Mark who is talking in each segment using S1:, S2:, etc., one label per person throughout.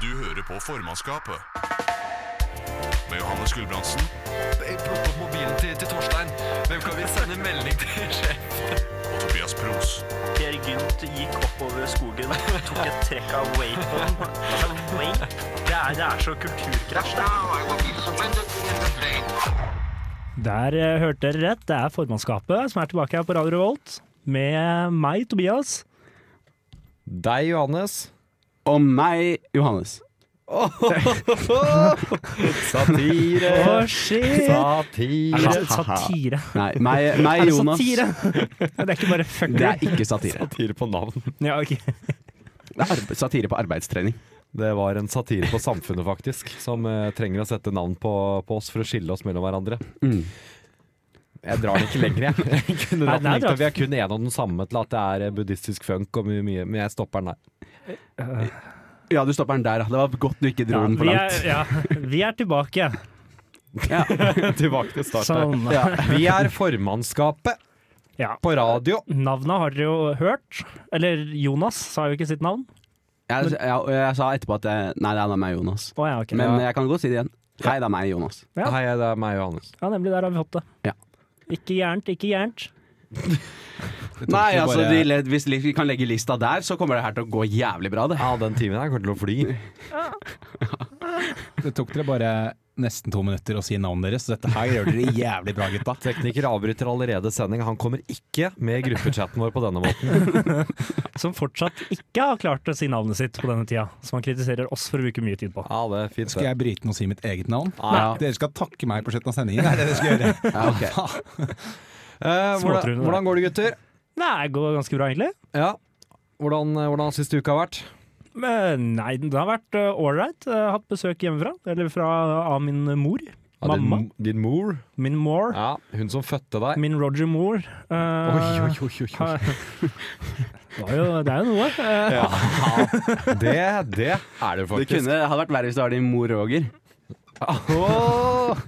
S1: Du hører på formannskapet. Med Johannes Gulbrandsen.
S2: Plukk opp mobilen til, til Torstein. Hvem kan vi sende melding til sjef?
S1: Og Tobias Pros.
S3: Per Gynt gikk oppover skogen, tok et trekk av vapen. Altså, vape? Det er, det er så kulturkrasj. Det.
S4: Der eh, hørte dere rett. Det er formannskapet som er tilbake her på Radio Revolt. Med meg, Tobias.
S5: Deg, Johannes.
S6: Og meg, Johannes.
S5: Satire.
S4: Å, shit! Er
S5: Satire.
S4: det satire?
S6: Nei, meg, meg
S4: Er det
S6: Jonas.
S4: satire? Det er ikke bare
S6: Det
S4: fuckery?
S6: er ikke satire.
S5: Satire på navn.
S4: Ja, ok.
S6: Det er arbe- satire på arbeidstrening.
S5: Det var en satire på samfunnet, faktisk, som eh, trenger å sette navn på, på oss for å skille oss mellom hverandre. Jeg drar det ikke lenger, jeg. jeg kunne
S4: Nei,
S5: dratt den
S4: nei,
S5: lenger,
S4: dra-
S5: vi er kun en og den samme til at det er eh, buddhistisk funk og mye, mye men jeg stopper den der.
S6: Ja, du stopper den der, ja. Det var godt du ikke dro
S4: Ja,
S6: den for
S4: vi,
S6: langt.
S4: er, ja, vi er tilbake.
S5: Tilbake til start her.
S4: Sånn.
S5: Ja. Vi er formannskapet
S4: Ja.
S5: på radio.
S4: Navnet har dere jo hørt. Eller Jonas sa jo ikke sitt navn.
S6: Jeg, jeg, jeg, sa etterpå at jeg, Nei, det er da meg, Jonas.
S4: Å, ja, ok.
S6: Men jeg kan godt si det igjen. Hei, det er meg, Jonas.
S4: Ja.
S5: Hei, det er meg, Johannes.
S4: Ja, nemlig. Der har vi fått det.
S6: Ja.
S4: Ikke gærent, ikke gærent.
S6: Nei,
S5: ikke
S6: altså,
S5: bare-
S6: de, le- hvis li- vi kan legge lista der, så kommer det her til å gå jævlig bra, det.
S5: Ja, den timen her kommer til å fly.
S7: Det tok dere bare nesten to minutter å si navnet deres, så dette her gjør dere jævlig bra, gutta.
S5: Tekniker avbryter allerede sending. Han kommer ikke med i gruppechatten vår på denne måten.
S4: Som fortsatt ikke har klart å si navnet sitt på denne tida. Som han kritiserer oss for å bruke mye tid på.
S5: Ja, det er fint.
S7: Skal jeg bryte med å si mitt eget navn?
S6: Ja.
S7: Dere skal takke meg på slutten av sendingen. Det er det dere skal gjøre.
S6: Ja, ok.
S5: Eh,
S4: Småtryne,
S5: hvordan,
S4: da.
S5: hvordan går det, gutter?
S4: Nei, det går ganske bra, egentlig.
S5: Ja. Hvordan, eh, hvordan syns du uka har vært?
S4: Men nei, det har vært eh, ålreit. Uh, hatt besøk hjemmefra. Eller fra, av min mor. Mamma.
S5: Din, din mor?
S4: Min mor.
S5: Ja, hun som fødte deg.
S4: Min Roger Moore. eh, ha- det, var jo, det er jo noe. eh.
S5: Det, det er det
S6: Det
S5: faktisk.
S6: kunne, hadde vært verre hvis det var din mor, Roger.
S5: Åh!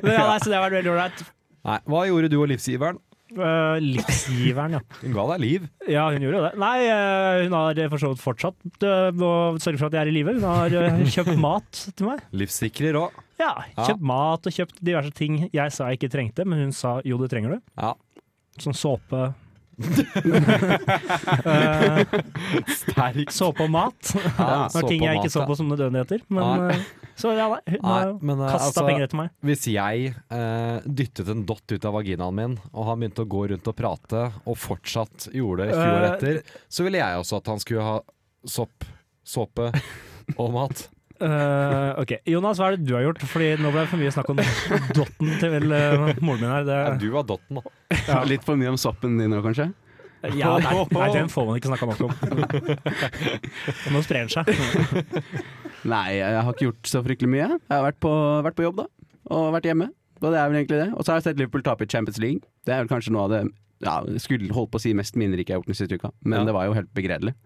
S4: ja, nei, så det har vært veldig ålreit.
S5: Nei, hva gjorde du og livsgiveren?
S4: Eh, livsgiveren, ja.
S5: Hun ga deg liv.
S4: Ja, hun gjorde jo det. Nei, eh, hun har for så vidt fortsatt eh, å sørge for at jeg er i live. Hun har eh, kjøpt mat til meg.
S5: Livssikrer òg.
S4: Ja,
S5: Ja.
S4: kjøpt mat og kjøpt diverse ting jeg sa jeg ikke trengte, men hun sa jo, det trenger du.
S5: Ja.
S4: Sånn såpe Eh, Såpe og mat.
S5: Ja,
S4: Det var ting jeg ikke så på som nødvendigheter. Men,
S5: Nei.
S4: eh, så ja, nei, hun har
S5: Nei, men, eh,
S4: kasta
S5: altså-
S4: penger etter meg.
S5: Hvis jeg eh, dyttet en dott ut av vaginaen min, og han begynte å gå rundt og prate, og fortsatt gjorde det 20 år
S4: Eh,
S5: etter, så ville jeg også at han skulle ha sopp, såpe og mat.
S4: Eh, ok, Jonas, hva er det du har gjort? Fordi nå ble det for mye snakk om dotten til eh, moren min her. Det,
S5: Ja, du var dotten, da.
S6: Litt for mye om soppen din nå, kanskje?
S4: Ja, nei, nei, den får man ikke snakka nok om. Nå sprer den seg.
S6: Nei, jeg har ikke gjort så fryktelig mye. Jeg har vært på, vært på jobb, da. Og vært hjemme. Og det er vel egentlig det. Og så har jeg sett Liverpool tape i Champions League. Det er vel kanskje noe av det ja, jeg skulle holdt på å si mest minnerikke jeg har gjort den siste uka. Men
S5: Ja.
S6: det var jo helt begredelig.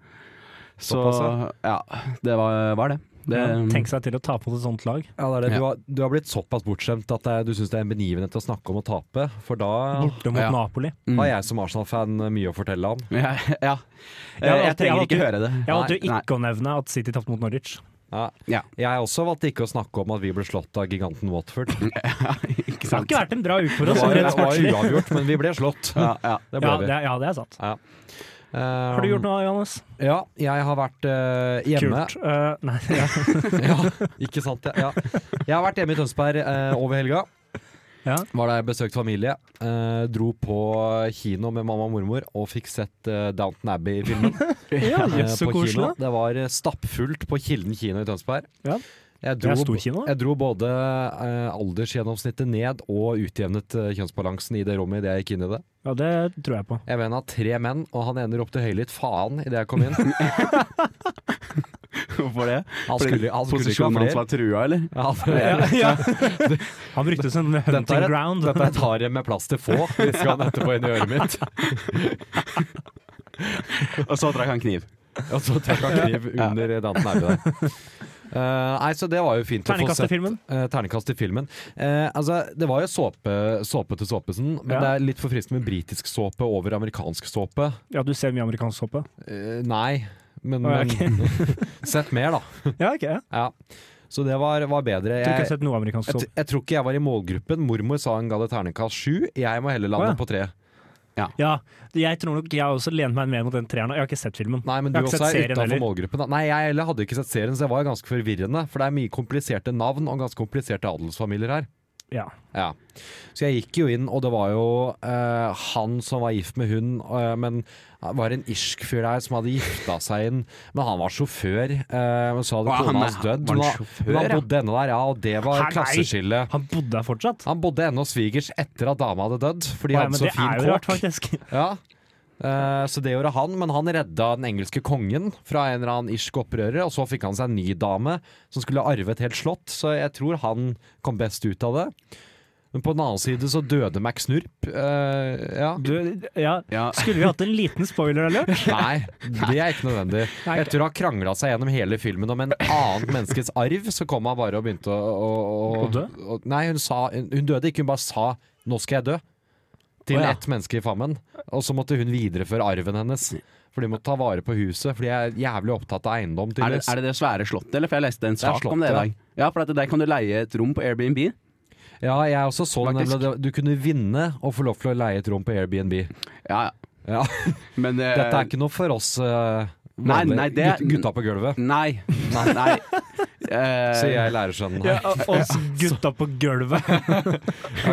S6: Så
S5: Såpass, ja.
S6: ja, det var, var det. det mm.
S4: Tenk seg til å tape mot et sånt lag.
S5: Ja, det er det.
S6: Ja.
S5: Du, har, du har blitt såpass bortskjemt at det er- du syns det er en benivenhet å snakke om å tape. For da
S4: Borte mot
S6: Ja.
S4: Napoli.
S6: Mm.
S5: har jeg som Arsenal-fan mye å fortelle om.
S6: ja, ja.
S4: Jeg
S6: Jeg,
S4: valgte- jeg
S6: trenger
S4: valgte-
S6: ikke høre det.
S4: Jeg valgte jo
S6: Nei,
S4: ikke å nevne at City tapte mot Norwich.
S5: Ja.
S6: Ja.
S5: Jeg også valgte ikke å snakke om at vi ble slått av giganten Watford. Det
S6: ikke
S4: Det har
S6: sant.
S4: ikke vært en bra uke for oss.
S5: var, det
S4: rent
S5: var
S4: sportslig.
S5: uavgjort, men vi ble slått.
S6: Ja, ja.
S5: Det ble
S4: Ja,
S5: vi.
S4: det, ja, det er sant.
S5: Um,
S4: Har du gjort noe, Johannes?
S5: Eh, Ja, jeg har vært eh, hjemme.
S4: Kult. Eh, nei, ja.
S5: Ja, ikke sant? Ja. Ja. Jeg har vært hjemme i Tønsberg eh, over helga.
S4: Ja.
S5: Var der besøkt familie. Eh, dro på kino med mamma og mormor og fikk sett eh, Downton Abbey-filmen.
S4: ja
S5: eh,
S4: jøss, så
S5: på
S4: koselig.
S5: kino. Det var eh, stappfullt på Kilden kino i Tønsberg.
S4: Ja.
S5: Jeg
S4: Det
S5: dro,
S4: er storkino. da.
S5: jeg dro både eh, aldersgjennomsnittet ned og utjevnet eh, kjønnsbalansen i det rommet idet jeg gikk inn i det.
S4: Ja, det tror jeg på.
S5: Jeg mener at tre menn, og han ene ropte høylytt 'faen' idet jeg kom inn.
S6: Hvorfor det?
S5: Han
S6: Fordi
S5: skulle, han skulle ikke
S6: Posisjonen
S5: ha
S6: hans
S5: flere.
S6: var trua, eller?
S5: Ja,
S4: Ja, ja. Han brukte det som
S5: Dette
S4: hunting
S5: er,
S4: ground.
S5: dette er et harem med plass til få, hvisker han etterpå inn i øret mitt.
S6: Og så trakk han kniv.
S5: Og så trakk han kniv under Danten Aube der. Eh, nei, så det var jo fint å få
S4: Terningkast til
S5: sett.
S4: filmen.
S5: eh, terningkast til filmen. Eh, altså, det var jo såpe, såpe til såpesen, men
S4: Ja.
S5: det er litt for fristende med britisk såpe over amerikansk såpe.
S4: Ja, du ser mye amerikansk såpe.
S5: Eh, nei, men
S4: Å, ja,
S5: sett mer, da.
S4: Ja, ok. Jeg
S5: Ja. Så det var, var bedre.
S4: tror ikke jeg har
S5: Jeg,
S4: sett noe amerikansk
S5: jeg,
S4: sånn.
S5: t- jeg tror ikke jeg var i målgruppen. Mormor sa hun ga det terningkast sju. Jeg må heller lande
S4: Å, ja.
S5: på tre.
S4: Ja, jeg tror nok jeg har også lent meg mer mot den treeren. og Jeg har ikke sett filmen.
S5: Nei, men du
S4: Jeg har ikke
S5: også
S4: sett
S5: er
S4: serien
S5: utenfor
S4: heller.
S5: målgruppen. da. Nei, jeg heller hadde ikke sett serien, så det var jo ganske forvirrende. For det er mye kompliserte navn og ganske kompliserte adelsfamilier her.
S4: Ja.
S5: Ja. Så jeg gikk jo inn, og det var jo eh, han som var gift med hun, eh, men det var en irsk fyr der som hadde gifta seg inn, men han var sjåfør. eh, men så hadde
S6: Hva, han
S5: kona hans
S6: er-
S5: dødd.
S6: var han
S5: men han-
S6: sjåfør,
S5: men han
S6: ja?
S5: bodde ennå der, ja, og det var
S4: Hæ, nei.
S5: klasseskille.
S4: Han bodde der fortsatt?
S5: Han bodde ennå hos svigers etter at dama hadde dødd, for de
S4: Ja,
S5: hadde
S4: men
S5: så
S4: det er jo
S5: fin
S4: rart,
S5: kåk.
S4: faktisk.
S5: Ja. Eh, så det gjorde han, men han redda den engelske kongen fra en eller annen irsk opprører. Og så fikk han seg en ny dame som skulle arve et helt slott, så jeg tror han kom best ut av det. Men på den annen side så døde Mac Snurp. eh, ja.
S4: Du, ja.
S6: Ja.
S4: Skulle vi hatt en liten spoiler alert?
S5: Nei, det er ikke nødvendig.
S4: Nei,
S5: Etter å ha krangla seg gjennom hele filmen om en annet menneskes arv, så kom han bare og begynte å, å, å
S4: Å dø?
S5: å- Nei, hun, sa, hun hun døde ikke, hun bare sa 'nå skal jeg dø' til
S4: Å, ja.
S5: ett menneske i famnen. Og så måtte hun videreføre arven hennes. For de måtte ta vare på huset, for de er jævlig opptatt av eiendom.
S6: Er det,
S5: tydeligvis.
S6: er det det svære slottet, eller? For jeg leste en
S5: er
S6: sak om det i
S5: slottet,
S6: dag. Ja, for at der kan du leie et rom på Airbnb.
S5: Ja, jeg også så det
S6: Faktisk.
S5: nemlig. at Du kunne vinne og få lov til å leie et rom på Airbnb.
S6: Ja, ja.
S5: Ja.
S6: Men eh,
S5: Dette er ikke noe for oss eh,
S6: Nei,
S5: vanlige
S6: nei, det-
S5: gut- gutta på gulvet,
S6: Nei. Nei. Eh,
S5: sier jeg sånn. lærersønnen her.
S4: Ja, oss gutta på gulvet.
S6: Eh,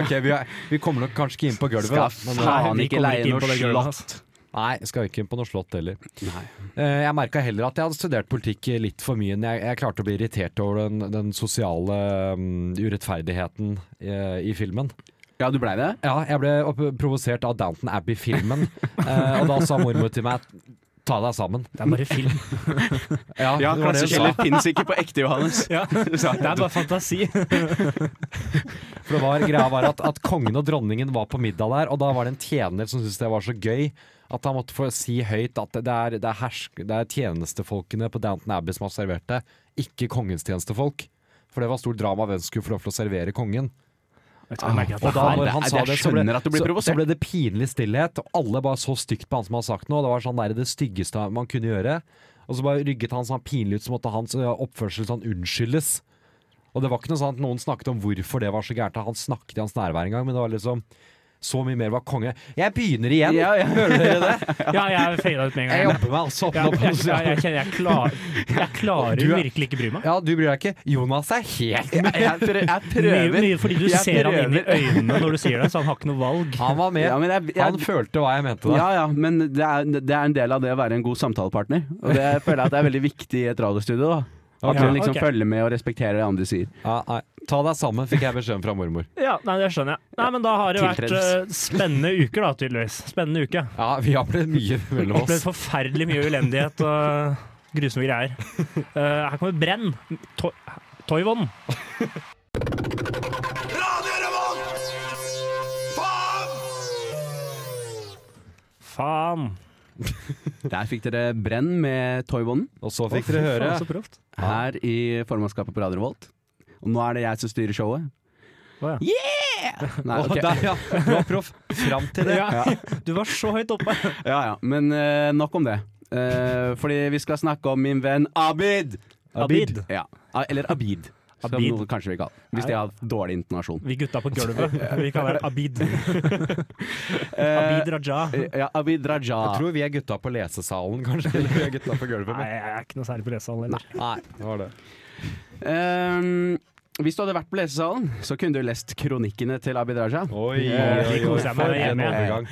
S5: Ok, vi, er, vi kommer nok kanskje ikke inn på gulvet, da.
S6: skal
S5: men-
S6: faen
S4: Nei, vi
S6: ikke
S4: kommer
S6: leie
S4: ikke inn på
S6: noe
S4: det gulvet,
S6: slott.
S5: Nei, jeg skal ikke inn på noe slott heller.
S6: Nei.
S5: Eh, Jeg merka heller at jeg hadde studert politikk litt for mye. Jeg, jeg klarte å bli irritert over den, den sosiale mm, urettferdigheten eh, i filmen.
S6: Ja, du blei det?
S5: Ja, jeg ble opp- provosert av Downton Abbey-filmen, eh, og da sa mormor til meg ta deg sammen.
S4: Det er bare film.
S5: Ja,
S6: Ja,
S5: det var det hun
S6: klasseskiller
S5: sa.
S6: finnes ikke på ekte, Johannes.
S4: Ja.
S6: Du sa-
S4: Det er bare fantasi.
S5: For det var, greia var at, at kongen og dronningen var på middag der, og da var det en tjener som syntes det var så gøy at han måtte få si høyt at det er, det er, hersk, det er tjenestefolkene på Downton Abbey som har servert det, ikke kongens tjenestefolk. For det var stort drama hvem som skulle få lov til å servere kongen.
S4: Jeg tror jeg merker at
S5: Og
S4: det
S5: da
S4: er-
S5: når
S6: det-
S5: han
S6: det-
S5: sa
S6: jeg
S5: det, så ble,
S6: skjønner at du blir
S5: så, så
S6: provosert.
S5: ble det pinlig stillhet, og alle bare så stygt på han som hadde sagt noe. og Det var sånn der, det styggeste man kunne gjøre. Og så bare rygget han sånn pinlig ut, så måtte hans ø, oppførsel sånn unnskyldes. Og det var ikke noe sånn at noen snakket om hvorfor det var så gærent. Han snakket i hans nærvær en gang, men det var liksom så mye mer var konge. Jeg begynner igjen!
S6: Ja, ja.
S5: Hører dere det?
S4: Ja, jeg fada ut med
S5: Jeg
S4: en gang.
S5: jobber meg altså opp
S4: Ja,
S5: nå.
S4: jeg, jeg, jeg,
S5: på-
S4: kjenner jeg, klar, jeg klarer
S5: Du er-
S4: virkelig ikke bry meg.
S5: Ja, du bryr deg ikke? Jonas er helt
S6: Jeg,
S5: med.
S6: jeg, prø- jeg
S4: Mye,
S6: prøver.
S4: mye fordi du
S6: Jeg
S4: ser han inn i
S6: prøver.
S4: øynene når du sier det, så han har ikke noe valg.
S5: Han var med.
S6: Ja, men jeg,
S5: Han
S6: jeg,
S5: følte hva jeg mente.
S6: ja,
S5: Da.
S6: ja, men det er, det er en del av det å være en god samtalepartner. Og det føler jeg at det er veldig viktig i et radiostudio. da At
S4: Ok.
S6: man liksom
S4: Ok.
S6: følger med og respekterer det andre sier.
S5: Ja, nei. Ta deg sammen, fikk jeg beskjeden fra mormor.
S4: Ja, nei, Det skjønner jeg. Nei, Men da har det vært
S6: Tiltredes.
S4: eh, spennende uker, da, tydeligvis. Spennende uke.
S5: Ja, vi har blitt mye mellom oss.
S4: Opplevd forferdelig mye ulendighet og grusomme greier. Eh, her kommer Brenn. To Toivon. Faen!
S6: Der fikk dere Brenn med Toyvonen
S5: Og så fikk dere høre
S4: Faen, så proft.
S6: her i formannskapet på Radio Revolt. Og nå er det jeg som styrer showet.
S4: Å, ja.
S6: Nei,
S5: Å,
S6: ok.
S5: der, ja. Du var proff fram til det.
S4: Ja, du var så høyt oppe.
S6: Ja, ja. Men eh, nok om det. Eh, fordi vi skal snakke om min venn Abid!
S4: Abid.
S6: Ja. Ah, Eller Abid, som
S4: Abid.
S6: noen kanskje vil kalle han, Hvis de har dårlig intonasjon.
S4: Vi gutta på gulvet. Vi kaller det Abid. Abid Raja.
S6: Eh, Ja, Abid Raja.
S5: Jeg tror vi er gutta på lesesalen, kanskje. Eller vi er gutta på gulvet.
S4: Nei,
S5: men-
S4: jeg er ikke noe særlig på lesesalen heller.
S5: Nei, det var det.
S6: Ehm, hvis du hadde vært på lesesalen, så kunne du lest kronikkene til Abid Raja.
S5: Oi,
S4: Ja, de
S5: oi, oi,
S4: koser jeg meg
S5: for en
S4: hjemme.
S5: overgang.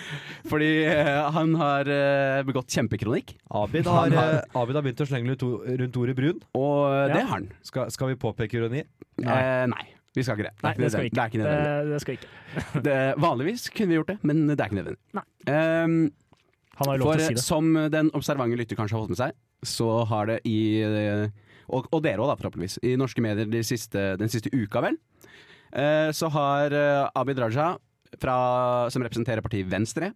S6: Fordi eh, han har eh, begått kjempekronikk,
S5: Abid har, eh, Abid har begynt å slenge litt o- rundt ordet brun.
S6: og eh, det
S4: Ja.
S6: har han.
S5: Skal, skal vi påpeke ironi?
S6: Nei. nei. Vi skal ikke det.
S4: Eh, Nei, det skal vi
S6: Det
S4: ikke.
S6: er ikke
S4: Det,
S6: nødvendig.
S4: Eh, det skal vi ikke.
S6: Det, vanligvis kunne vi gjort det, men det er ikke nødvendig.
S4: Nei.
S6: Ehm,
S4: Han har jo lov til
S6: For
S4: å si det.
S6: som den observante lytter kanskje har fått med seg, så har det i eh, Og, og dere òg, forhåpentligvis. I norske medier de siste, den siste uka, vel, eh, så har eh, Abid Raja, fra, som representerer partiet Venstre,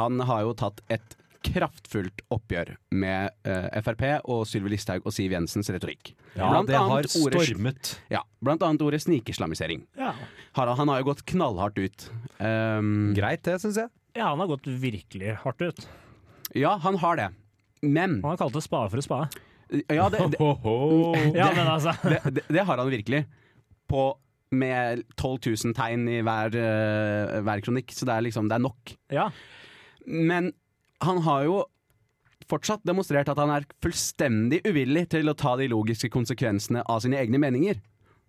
S6: han har jo tatt et kraftfullt oppgjør med eh, Frp og Sylvi Listhaug og Siv Jensens retorikk.
S5: Ja, det har
S6: ordet,
S5: stormet.
S6: ja, blant annet ordet snikislamisering.
S4: Ja.
S6: Harald, han har jo gått knallhardt ut. Ehm,
S5: Greit det, syns jeg.
S4: ja, han har gått virkelig hardt ut.
S6: Ja, han har det. Men
S4: Han har kalt det spade for en spade.
S6: Ja, det, det,
S4: Ja, men altså.
S6: det, det, det har han virkelig. På, med 12 000 tegn i hver, eh, hver kronikk, så det er liksom det er nok.
S4: Ja.
S6: Men han har jo fortsatt demonstrert at han er fullstendig uvillig til å ta de logiske konsekvensene av sine egne meninger.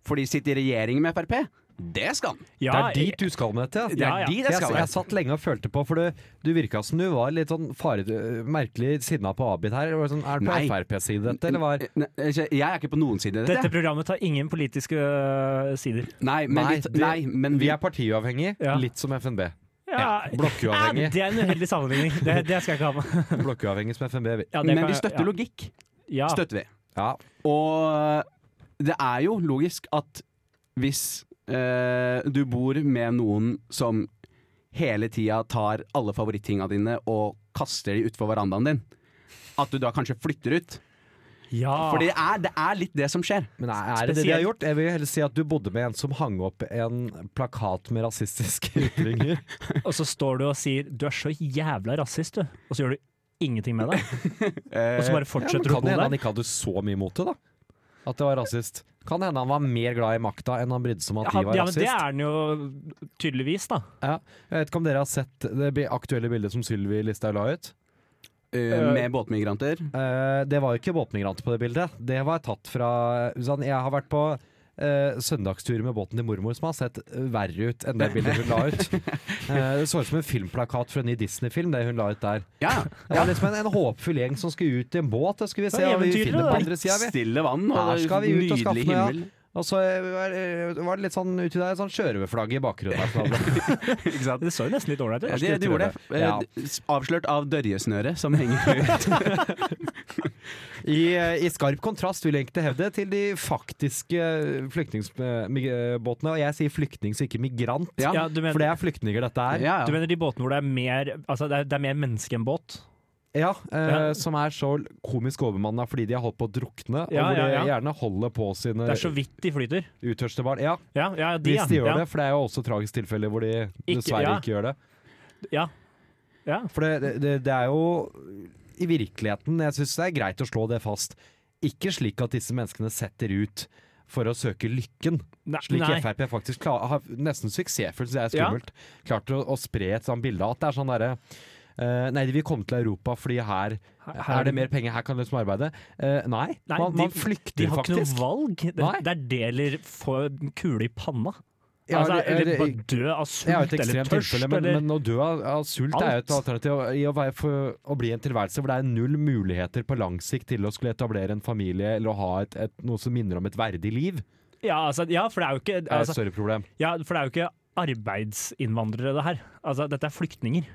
S6: Fordi sitt i regjering med Frp, det skal han.
S4: ja.
S5: det er dit du skal med dette.
S6: Det
S4: Ja,
S6: er
S4: ja.
S6: de det
S5: Jeg,
S6: skal.
S5: jeg satt lenge og følte på, for du, du virka som du var litt sånn fare, merkelig sinna på Abid her. Det var Sånn, er det på
S6: Nei.
S5: Frp-side dette, eller var
S6: Nei, Jeg er ikke på noen side i dette.
S4: Dette programmet tar ingen politiske øh, sider.
S6: Nei, men,
S5: Nei,
S6: vi,
S5: det-
S6: nei, men
S5: Vi er partiuavhengige,
S4: Ja.
S5: litt som FNB.
S4: Ja. Ja,
S5: Blokkuavhengige.
S4: det er en uheldig sammenligning. Det, det skal jeg ikke ha med.
S5: Blokkuavhengige som FNB. vil.
S4: Ja, det
S6: men
S4: kan
S6: vi
S4: jeg-
S6: støtter logikk.
S4: ja. Ja.
S6: Støtter vi.
S5: Ja.
S6: Og det er jo logisk at hvis eh, du bor med noen som hele tida tar alle favorittinga dine og kaster de utfor verandaen din, at du da kanskje flytter ut.
S4: Ja.
S6: For det er, det er litt det som skjer.
S5: Men er, er det det de
S4: Spesielt-
S5: har gjort? Jeg vil heller si at du bodde med en som hang opp en plakat med rasistiske ytringer.
S4: Og så står du og sier 'du er så jævla rasist', du. Og så gjør du ingenting med det. Og så bare
S5: Ja, men
S4: fortsetter du å
S5: kan
S4: bo
S5: det hende han
S4: der.
S5: ikke hadde så mye mot det, da? At det var rasist. Kan hende han var mer glad i makta enn han brydde seg om at de
S4: Han,
S5: var
S4: ja, men
S5: rasist.
S4: det er han jo tydeligvis, da.
S5: Ja. Jeg vet ikke om dere har sett det bi- aktuelle bildet som Sylvi Listhaug la ut?
S6: Eh, med båtmigranter.
S5: Eh, det var jo ikke båtmigranter på det bildet. Det var tatt fra sånn, Jeg har vært på eh, søndagstur med båten til mormor, som har sett eh, verre ut enn det bildet hun la ut. Eh, det så ut som en filmplakat fra en ny Disney-film, det hun la ut der.
S6: Ja,
S5: Det var liksom en, en håpfull gjeng som skulle ut i en båt. Det skulle vi
S4: Det
S5: se
S4: var
S5: hva vi
S4: eventyret,
S5: finner
S4: da.
S5: på andre sida, vi.
S6: stille vann
S5: Her
S6: og
S5: skal vi ut og
S6: nydelig
S5: skaffe noe, ja.
S6: himmel.
S5: Og så eh, var det var det litt sånn uti der, sånn sjørøverflagg i bakgrunnen. der, som hadde-
S6: Ikke sant?
S4: Det så jo nesten litt ålreit
S6: Ja,
S4: ut.
S6: de, de gjorde det. Eh,
S5: Ja.
S6: d- Avslørt av dørjesnøret som henger ut.
S5: I, eh, I skarp kontrast vil jeg egentlig hevde til de faktiske eh, flyktningbåtene. eh, Og jeg sier flyktning, så ikke migrant.
S6: Ja.
S4: Ja, du,
S5: For
S4: mener,
S5: det er flyktninger dette er.
S6: Ja,
S4: du
S6: ja.
S4: mener de båtene hvor det er mer Altså det er, det er mer menneske enn båt?
S5: Ja, eh,
S4: Ja.
S5: Som er så komisk overmanna fordi de har holdt på å drukne.
S4: Ja,
S5: og hvor
S4: ja, ja.
S5: de gjerne holder på sine
S4: Det er så vidt de flyter.
S5: utørste barn. Ja,
S4: Ja, ja de,
S5: hvis de gjør
S4: ja.
S5: det, for det er jo også tragisk tilfelle hvor de
S4: Ikke-
S5: dessverre
S4: ja.
S5: ikke gjør det.
S4: Ja. ja.
S5: For det, det, det er jo i virkeligheten Jeg syns det er greit å slå det fast. Ikke slik at disse menneskene setter ut for å søke lykken.
S4: Nei,
S5: Slik
S4: nei.
S5: Frp faktisk klar, har nesten suksessfullt, så det er
S4: Ja.
S5: skummelt, klart å, å spre et sånt bilde av at det er sånn derre eh, nei, de vil komme til Europa fordi her,
S4: her-
S5: er det mer penger, her kan de liksom arbeide. Eh, nei,
S4: Nei,
S5: man, man
S4: de-
S5: flykter
S4: De har ikke noe
S5: faktisk.
S4: valg. Det,
S5: Nei.
S4: det er det eller få en kule i panna.
S5: Ja,
S4: altså,
S5: det-
S4: eller
S5: det-
S4: bare dø
S5: Det er jo
S4: av sult
S5: et
S4: eller
S5: ekstremt
S4: tørst.
S5: tilfelle, men,
S4: eller,
S5: men å dø av, av sult er jo et
S4: Alt.
S5: alternativ i å, være for, å bli en tilværelse hvor det er null muligheter på lang sikt til å skulle etablere en familie eller å ha et, et, noe som minner om et verdig liv.
S4: ja, altså, ja, for det er jo ikke
S5: Det er et
S4: altså,
S5: større problem.
S4: ja, for det er jo ikke arbeidsinnvandrere, det her. Altså, dette er flyktninger.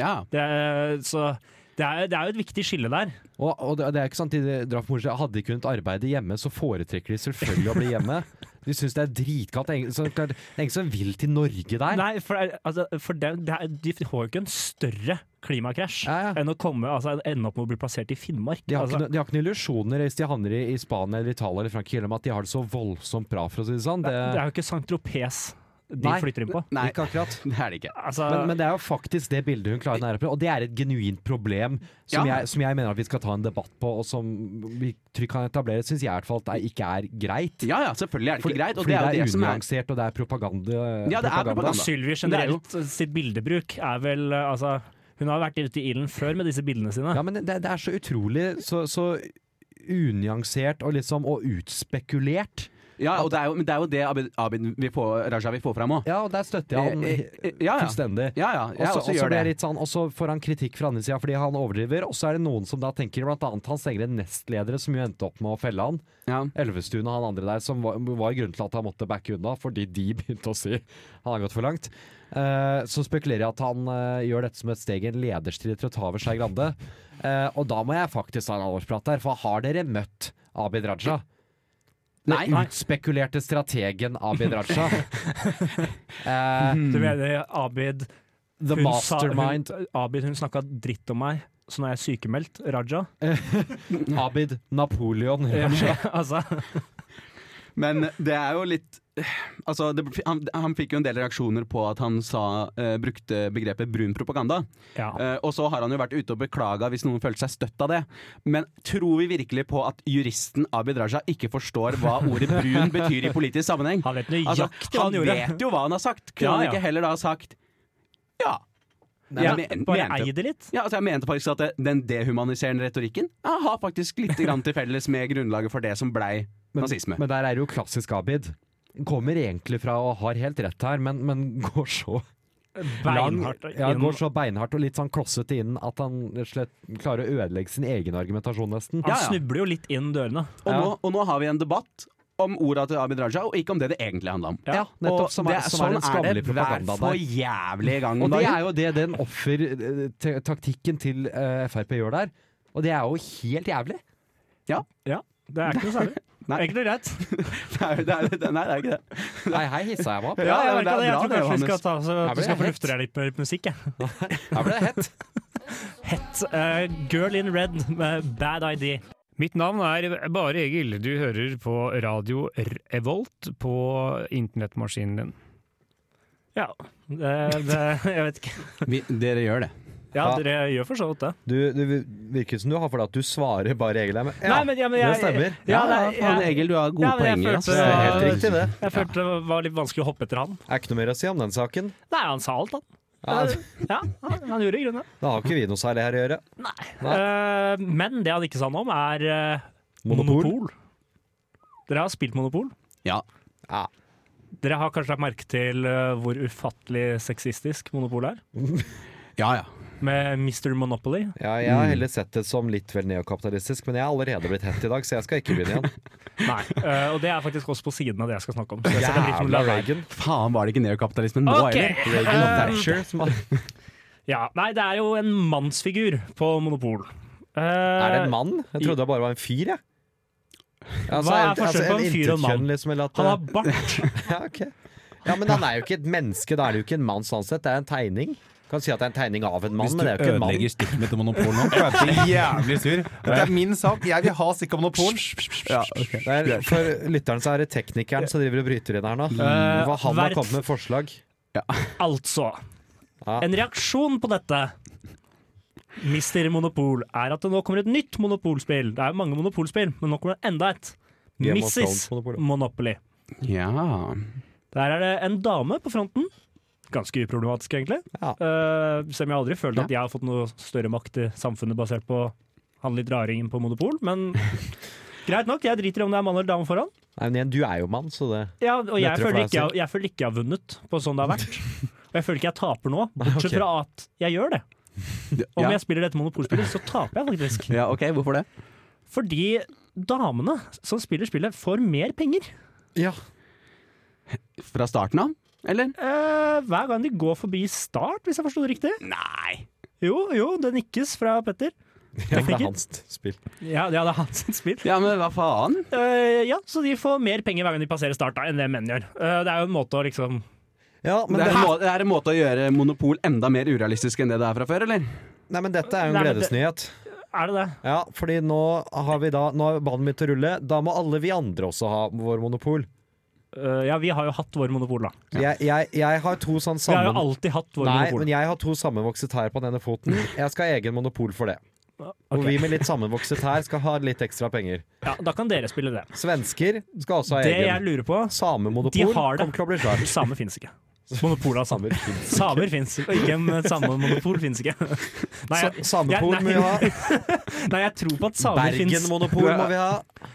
S6: ja.
S4: Det er, så det er, det er jo et viktig skille der.
S5: Og, og det, det er ikke sant, de drar for moro skyld. Hadde de kunnet arbeide hjemme, så foretrekker de selvfølgelig å bli hjemme. De syns det er dritkaldt. Det er ingen- så klart- det er ingen som vil til Norge der.
S4: Nei, for, altså, for det, det er, de har jo ikke en større klimakrasj
S5: Ja, ja.
S4: enn å komme, altså, ende opp med å bli plassert i Finnmark.
S5: De har,
S4: altså,
S5: ikke, no- de har ikke noen illusjoner hvis de havner i, i Spania eller Italia eller Frankrike om at de har det så voldsomt bra, for å si det sånn. Det,
S4: det, er jo ikke Saint-Tropez de
S5: Nei.
S4: flytter inn på.
S6: Nei,
S5: ikke akkurat.
S6: det er det ikke.
S4: Altså,
S5: Men, men det er jo faktisk det bildet hun klarer å nære på, og det er et genuint problem som,
S6: Ja.
S5: jeg, som jeg mener at vi skal ta en debatt på, og som vi trygt kan etablere, syns jeg i hvert fall at det ikke er greit.
S6: Ja ja, selvfølgelig er det
S5: Fordi-
S6: ikke greit. Og
S5: fordi
S6: det er jo det som er
S5: unyansert, og det er propaganda.
S6: Ja, det er propaganda.
S4: Sylvi
S6: Men det er jo-
S4: generelt sitt bildebruk er vel eh, altså, Hun har vært ute i ilden før med disse bildene sine.
S5: Ja, men det, det er så utrolig så, så unyansert og liksom og utspekulert.
S6: Ja, og det er jo, men det er jo det Abid, Abid vil få, Raja vil få fram òg.
S5: Ja, og der støtter jeg han
S6: Eh, eh, eh, ja, ja.
S5: fullstendig.
S6: Ja, ja,
S5: Og
S6: jeg
S5: så-
S6: også
S5: og så
S6: gjør
S5: blir jeg
S6: det.
S5: litt sånn, og så får han kritikk fra andre sida fordi han overdriver. Og så er det noen som da tenker, blant annet hans egne nestledere, som jo endte opp med å felle han.
S6: Ja.
S5: Elvestuen og han andre der, som var, var grunnen til at han måtte backe unna, fordi de begynte å si han har gått for langt. Eh, så spekulerer jeg at han eh, gjør dette som et steg i en lederstrid til å ta over Skei Grande. Eh, og da må jeg faktisk ha en alvorsprat der, for har dere møtt Abid Raja?
S6: Nei.
S5: Den utspekulerte strategen Abid Raja. Eh,
S4: Du
S6: Mm.
S4: mener Abid
S5: the
S4: hun sa-
S5: mastermind
S4: Hun, Abid hun snakka dritt om meg, så nå er jeg sykemeldt. Raja. Eh,
S5: Abid Napoleon Raja.
S4: altså,
S6: Men det er jo litt Altså, det, han, han fikk jo en del reaksjoner på at han sa, eh, brukte begrepet brun propaganda.
S4: Ja.
S6: Eh, og så har han jo vært ute og beklaga hvis noen følte seg støtt av det. Men tror vi virkelig på at juristen Abid Raja ikke forstår hva ordet brun betyr i politisk sammenheng?
S4: Han vet nøyaktig hva han
S6: Altså, han
S4: gjorde.
S6: vet jo hva han har sagt. Kunne
S4: Ja,
S6: han
S4: ja.
S6: ikke heller da ha sagt
S4: ja,
S6: ja? men- men-
S4: bare
S6: mente-
S4: ei det litt.
S6: Ja, altså jeg mente faktisk at det, den dehumaniserende retorikken ja, har faktisk litt grann til felles med grunnlaget for det som blei nazisme.
S5: Men der er det jo klassisk Abid. Kommer egentlig fra og har helt rett her, men, men går så
S4: Beinhardt.
S5: lang, ja,
S4: inn-
S5: går så beinhardt og litt sånn klossete inn at han rett og slett klarer å ødelegge sin egen argumentasjon, nesten.
S4: Han
S6: ja.
S4: snubler jo litt inn dørene.
S6: og,
S5: ja.
S6: nå, og nå har vi en debatt om orda til Abid Raja, og ikke om det det egentlig handla om.
S5: Ja, nettopp,
S6: Og
S5: som er- som er den skammelige propagandaen
S6: Sånn er
S5: der.
S6: det hver for jævlig gang
S5: Og
S6: om
S5: det
S6: dagen.
S5: er jo det den offertaktikken til eh, Frp gjør der. Og det er jo helt jævlig.
S4: Ja, det er ikke noe særlig. Det
S6: Nei.
S4: er ikke noe greit.
S6: Det er, det er, nei, det er ikke det.
S5: Nei, her hissa jeg meg opp.
S4: Ja, jeg,
S6: det er
S4: merker det, jeg
S6: bra
S4: tror
S6: det,
S4: kanskje vi skal,
S6: Johannes.
S4: ta, så,
S5: Her
S4: vi
S5: blir
S4: skal få
S5: det
S4: lufte deg litt med litt musikk. Jeg.
S5: Her ble det hett.
S4: Hett eh, Girl in Red med Bad ID.
S8: Mitt navn er Bare Egil. Du hører på radio Revolt på internettmaskinen din.
S4: Ja, det, det, jeg vet ikke.
S6: dere gjør det.
S4: Ja,
S5: Ja.
S4: dere gjør for så vidt det.
S5: Du, du virker som du har for deg at du svarer bare Egil her. men- Ja,
S4: Nei, men- ja, men jeg-
S5: det stemmer.
S4: Ja,
S6: Ja,
S4: det er-
S6: faen, Egil, du har gode
S4: Ja, men jeg følte-
S6: poenger. ass.
S5: Det er helt riktig, det.
S4: Jeg følte det var litt vanskelig å hoppe etter han.
S5: Er ikke noe mer å si om den saken.
S4: Nei, han sa alt, han.
S5: Ja,
S4: Ja, han, han gjorde i grunnen det.
S5: Da har ikke vi noe særlig her å gjøre. Nei.
S4: Eh, men det han ikke sa noe om, er eh, monopol.
S5: Monopol.
S4: Dere har spilt Monopol.
S6: Ja.
S5: Ja.
S4: Dere har kanskje lagt merke til eh, hvor ufattelig sexistisk Monopol er?
S6: ja, ja.
S4: Med Mr. Monopoly.
S5: Ja, jeg
S4: Mm.
S5: har heller sett det som litt vel neokapitalistisk, men jeg har allerede blitt hett i dag, så jeg skal ikke begynne igjen.
S4: Nei. eh, og det er faktisk også på siden av det jeg skal snakke om. Så jeg skal litt
S5: Jævla Reagan.
S6: Faen, var det ikke neokapitalismen nå,
S4: Ok.
S6: eller?
S5: Reagan og Thatcher. Som har...
S4: Ja, nei, det er jo en mannsfigur på Monopol. Eh,
S5: Er det en mann? Jeg trodde det bare var en fyr, jeg. Altså,
S4: Hva er
S5: altså,
S4: forskjellen på en fyr og en mann?
S5: intetkjønn, Liksom, eller at, eh,
S4: Han har bart.
S5: ja, ok. ja, men han er jo ikke et menneske, da er det jo ikke en mann sånn sett. Det er en tegning. Kan si at det er en tegning av en mann,
S7: Hvis du
S5: men det er jo ikke en mann.
S7: ødelegger stikket mitt til monopol
S6: sånn
S7: nå, så er jeg jævlig sur. Det er min sak, jeg vil ha stikket av monopol.
S6: Ja, ok.
S5: Det er, for lytteren så er det teknikeren som driver og bryter inn her nå.
S4: Eh,
S5: Hva han
S4: vert-
S5: har kommet med forslag.
S4: Altså,
S5: Ja.
S4: en reaksjon på dette Mister Monopol er at det nå kommer et nytt monopolspill. Det er jo mange monopolspill, men nå kommer det enda et.
S5: Game of
S4: Mrs.
S5: Thrones Monopoly.
S4: Monopoly.
S6: Ja.
S4: Der er det en dame på fronten. Ganske uproblematisk, egentlig.
S5: Ja.
S4: Eh, selv om jeg aldri følte at jeg har fått noe større makt i samfunnet basert på han litt raringen på Monopol, men greit nok. Jeg driter i om det er mann eller dame foran.
S5: Nei, men igjen, du er jo mann, så det
S4: Ja, og jeg
S5: Lettere for
S4: føler,
S5: deg å
S4: ikke jeg, jeg føler ikke jeg har vunnet på sånn det har vært. Og jeg føler ikke jeg taper nå, bortsett
S5: Ok.
S4: fra at jeg gjør det. Om
S6: Ja.
S4: jeg spiller dette monopolspillet, så taper jeg faktisk.
S6: ja, ok, hvorfor det?
S4: Fordi damene som spiller spillet, får mer penger.
S5: Ja.
S6: Fra starten av, eller?
S4: Eh, hver gang de går forbi start, hvis jeg forsto det riktig.
S6: Nei.
S4: Jo, jo, det nikkes fra Petter.
S5: Ja, for det
S4: Tekniker.
S5: er hans spill.
S4: Ja, ja, det er hans sitt spill.
S6: Ja, men hva faen?
S4: Eh, ja, så de får mer penger hver gang de passerer start, da, enn det menn gjør. Eh, det er jo en måte å liksom
S5: Ja, men,
S6: det, er en
S5: det,
S6: må, det er en måte å gjøre monopol enda mer urealistisk enn det det er fra før, eller?
S5: nei, men dette er jo
S4: Nei,
S5: en
S4: men det-
S5: gledesnyhet.
S4: Er det det?
S5: Ja, fordi nå har vi da Nå har banen begynt å rulle. Da må alle vi andre også ha vår monopol.
S4: Eh, ja, vi har jo hatt vår monopol, da.
S5: Jeg, jeg, jeg har to sånn
S4: Vi har jo
S5: sammen...
S4: alltid hatt vår
S5: Nei,
S4: monopol.
S5: men jeg har to sammenvokset hær på den ene foten. Jeg skal ha egen monopol for det. Og
S4: Ok.
S5: vi med litt sammenvokset hær skal ha litt ekstra penger.
S4: Ja, da kan dere spille det.
S5: Svensker skal også ha
S4: Det jeg
S5: egen.
S4: lurer på De
S5: Samemonopol
S4: har det.
S5: kommer til å bli svært.
S4: Samer fins ikke. Monopol av samer.
S5: Samer finnes
S4: Samer fins, og ikke en samemonopol fins ikke. Nei, jeg-
S5: Sa- Samepol
S4: jeg-
S5: må vi
S4: nei,
S5: ha.
S4: Nei, jeg tror på at samer fins,
S5: Bergen-monopol må vi ha.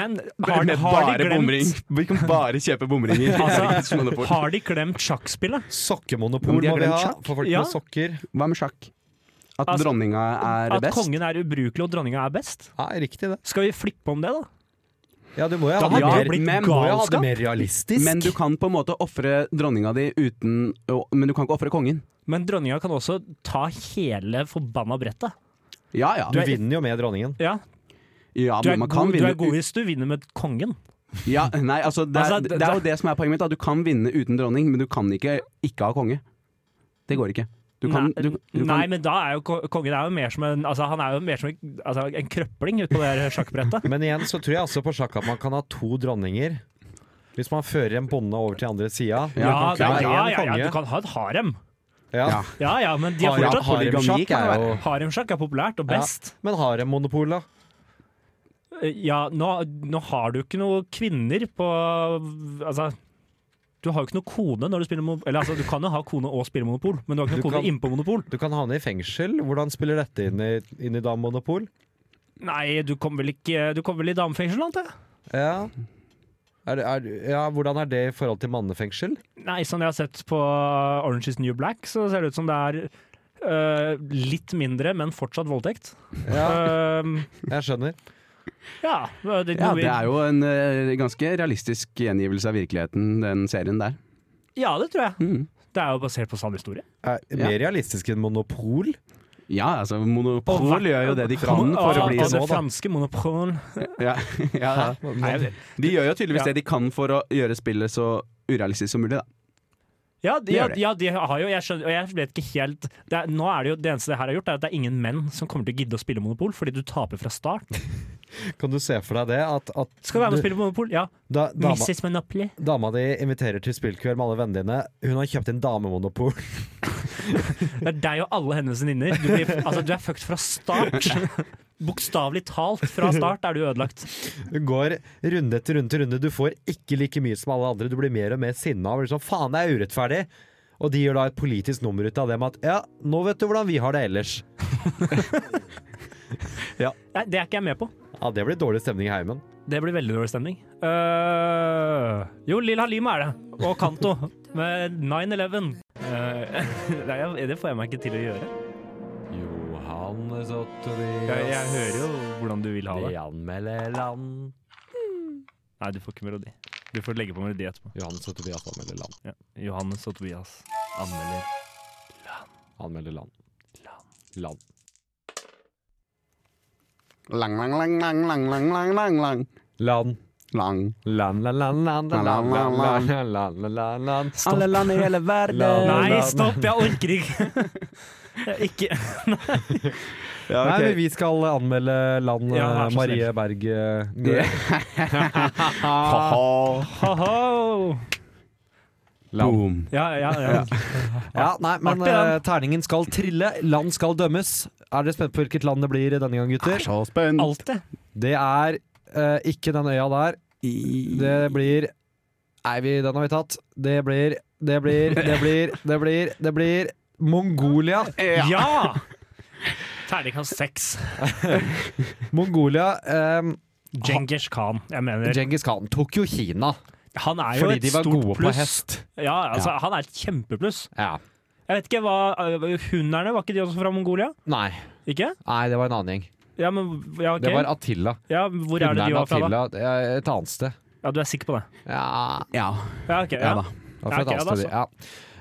S4: men har, de- har de glemt
S6: Vi kan bare kjøpe bomringer.
S4: altså, Har de glemt sjakkspillet?
S5: Sokkemonopol
S6: Men
S5: må
S6: de har
S5: vi
S6: glemt
S5: ha
S6: sjakk.
S5: for folk
S4: Ja.
S5: med sokker.
S6: Hva med sjakk? At
S4: Altså,
S6: dronninga er
S4: At
S6: best?
S4: kongen er ubrukelig og dronninga er best?
S5: Ja, riktig det.
S4: Skal vi flippe om det, da?
S5: Ja, du må jo ha
S4: Da
S5: det
S4: hadde
S5: mer,
S4: det blitt
S6: men-
S5: du må jo ha det
S4: galskap.
S5: mer realistisk.
S6: Men du kan på en måte ofre dronninga di uten å- Men du kan ikke ofre kongen.
S4: Men dronninga kan også ta hele forbanna brettet.
S6: Ja ja.
S5: Du vinner jo med dronningen.
S4: Ja,
S6: ja
S4: du, er
S6: men man kan
S4: god, du
S6: vinne
S4: er god hvis du vinner med kongen.
S6: ja, nei, altså, det, er,
S4: Altså,
S6: det,
S4: det-
S6: er jo det som er poenget mitt. Da. Du kan vinne uten dronning, men du kan ikke ikke ha konge. Det går ikke. Du kan,
S4: nei,
S6: du, du
S4: nei,
S6: kan
S4: men da er jo ko- kongen er jo mer som en, altså, han er jo mer som en, altså, en krøpling utpå det her sjakkbrettet.
S5: Men igjen så tror jeg også på sjakk at man kan ha to dronninger. Hvis man fører en bonde over til andre sida
S4: Ja,
S5: du kan
S4: ja,
S5: ikke
S4: ja,
S5: ha én
S4: ja, ja,
S5: konge.
S4: du kan ha et harem.
S5: Ja.
S6: Ja.
S4: Ja ja, men de er
S5: Harem-
S4: fortsatt
S5: haremsjakk
S6: polygami kan
S5: er
S6: det
S5: jo
S4: Haremsjakk er populært og
S5: Ja.
S4: best.
S5: Men haremmonopol, da?
S4: Eh, Ja, nå, nå har du ikke noe kvinner på Altså, du har jo ikke noe kone når du spiller monopol. Eller altså, du kan jo ha kone og spille monopol, men du har
S5: Du
S4: ikke noe
S5: kan-
S4: kone inne på monopol.
S5: Du kan havne i fengsel. Hvordan spiller dette inn i, inn i da monopol?
S4: Nei, du kommer vel ikke Du kommer vel i damefengsel, antar jeg?
S5: Ja. Er, det- er, ja, hvordan er det i forhold til mannefengsel?
S4: Nei, sånn jeg har sett på Orange is the New Black, så ser det ut som det er eh, litt mindre, men fortsatt voldtekt.
S5: Ja,
S4: Eh,
S5: jeg skjønner.
S4: ja, det,
S6: Ja, det er jo en eh, ganske realistisk gjengivelse av virkeligheten, den serien der.
S4: ja, det tror jeg.
S6: Mm.
S4: Det er jo basert på sann historie.
S5: Er det mer realistisk enn monopol?
S6: Ja, altså, Monopol gjør jo det de kan
S4: Mon-
S6: for å
S4: av-
S6: bli
S4: av det
S6: så, da.
S4: franske monopol.
S6: Ja, ja, ja.
S4: Nei, jeg vet-
S6: De gjør jo
S4: Ja.
S6: tydeligvis det de kan for å gjøre spillet så urealistisk som mulig, da.
S4: Ja, de,
S6: Det
S4: ja,
S6: gjør de.
S4: ja, de har jo, jeg skjønner, og jeg vet ikke helt det, er, nå er det, jo, det eneste det her har gjort, er at det er ingen menn som kommer til å gidde å spille Monopol, fordi du taper fra start.
S5: Kan du se for deg det? At, at
S4: Skal være med og spille Monopol? Ja.
S5: da, dama,
S4: Mrs. Monopoly.
S5: dama di inviterer til spillkveld med alle vennene dine. Hun har kjøpt inn damemonopol.
S4: Det er deg og alle hennes venninner. Du, blir- altså, du er fucked fra start. Bokstavelig talt fra start er du ødelagt.
S5: Du går runde etter runde etter runde. Du får ikke like mye som alle andre. Du blir mer og mer sinna. og blir Sånn, Faen, det er urettferdig! Og de gjør da et politisk nummer ut av det med at ja, nå vet du hvordan vi har det ellers.
S4: Nei, det er ikke jeg med på.
S5: Ja, Det blir dårlig stemning i heimen.
S4: Det blir veldig dårlig stemning. Øh, jo, Lil Halim er det. Og Kanto. Med 9-11. Øh, nei, det får jeg meg ikke til å gjøre.
S5: Johannes og
S4: Jeg, jeg hører jo hvordan du vil ha det.
S5: anmelder land.
S4: Nei, du får ikke melodi. Du får legge på melodi etterpå.
S5: Johannes og Tobias anmelder land.
S4: Ja. Johannes og Tobias anmelder.
S5: Anmelder land. Land.
S6: Lang, lang, lang, lang, lang, lang, lang, lang, lang.
S5: Land.
S6: lang.
S5: Land, land, land, land, land, land, land, land, land, land, land.
S6: Alle land i hele verden.
S4: Nei, stopp! Jeg orker ikke! Jeg ikke.
S6: Ja,
S5: Nei, men
S6: ok.
S5: vi skal anmelde land
S4: Ja, vær så
S5: eh,
S4: snill.
S5: Marie Berg eh,
S6: Ja.
S5: Gaard.
S4: Ho-ho!
S5: Land.
S4: Ja, ja, ja.
S5: Ja, nei, men
S4: Artig, den.
S5: eh, terningen skal trille. Land skal dømmes. Er dere spent på hvilket land det blir denne gang, gutter?
S6: Så spent.
S4: Alt det.
S5: Det er eh, ikke den øya der. Det blir Nei, vi, den har vi tatt. Det blir Det blir Det blir Det blir, det blir Mongolia.
S4: Ja! Terningkast seks.
S5: Mongolia eh,
S4: Djengis Khan. Jeg mener
S5: Genghis Khan tok jo Kina
S4: Han er jo
S5: fordi
S4: et
S5: de var
S4: stort
S5: gode på
S4: pluss.
S5: hest.
S4: Ja, altså, han er et kjempepluss.
S5: Ja.
S4: Jeg vet ikke hva øh, Hunderne, var ikke de også fra Mongolia?
S5: Nei,
S4: Ikke?
S5: nei, det var en annen gjeng.
S4: Ja, men ja, ok.
S5: Det var Attila.
S4: ja, hvor er det de
S5: Hunderen
S4: var fra, da?
S5: Attila. det er Et annet sted.
S4: Ja, Du er sikker på det?
S5: Ja,
S6: Ja.
S4: Ja, ok.
S6: ja
S4: Ja.
S6: da.
S5: Det var fra et
S4: Ja, ok,
S5: annet sted, ja.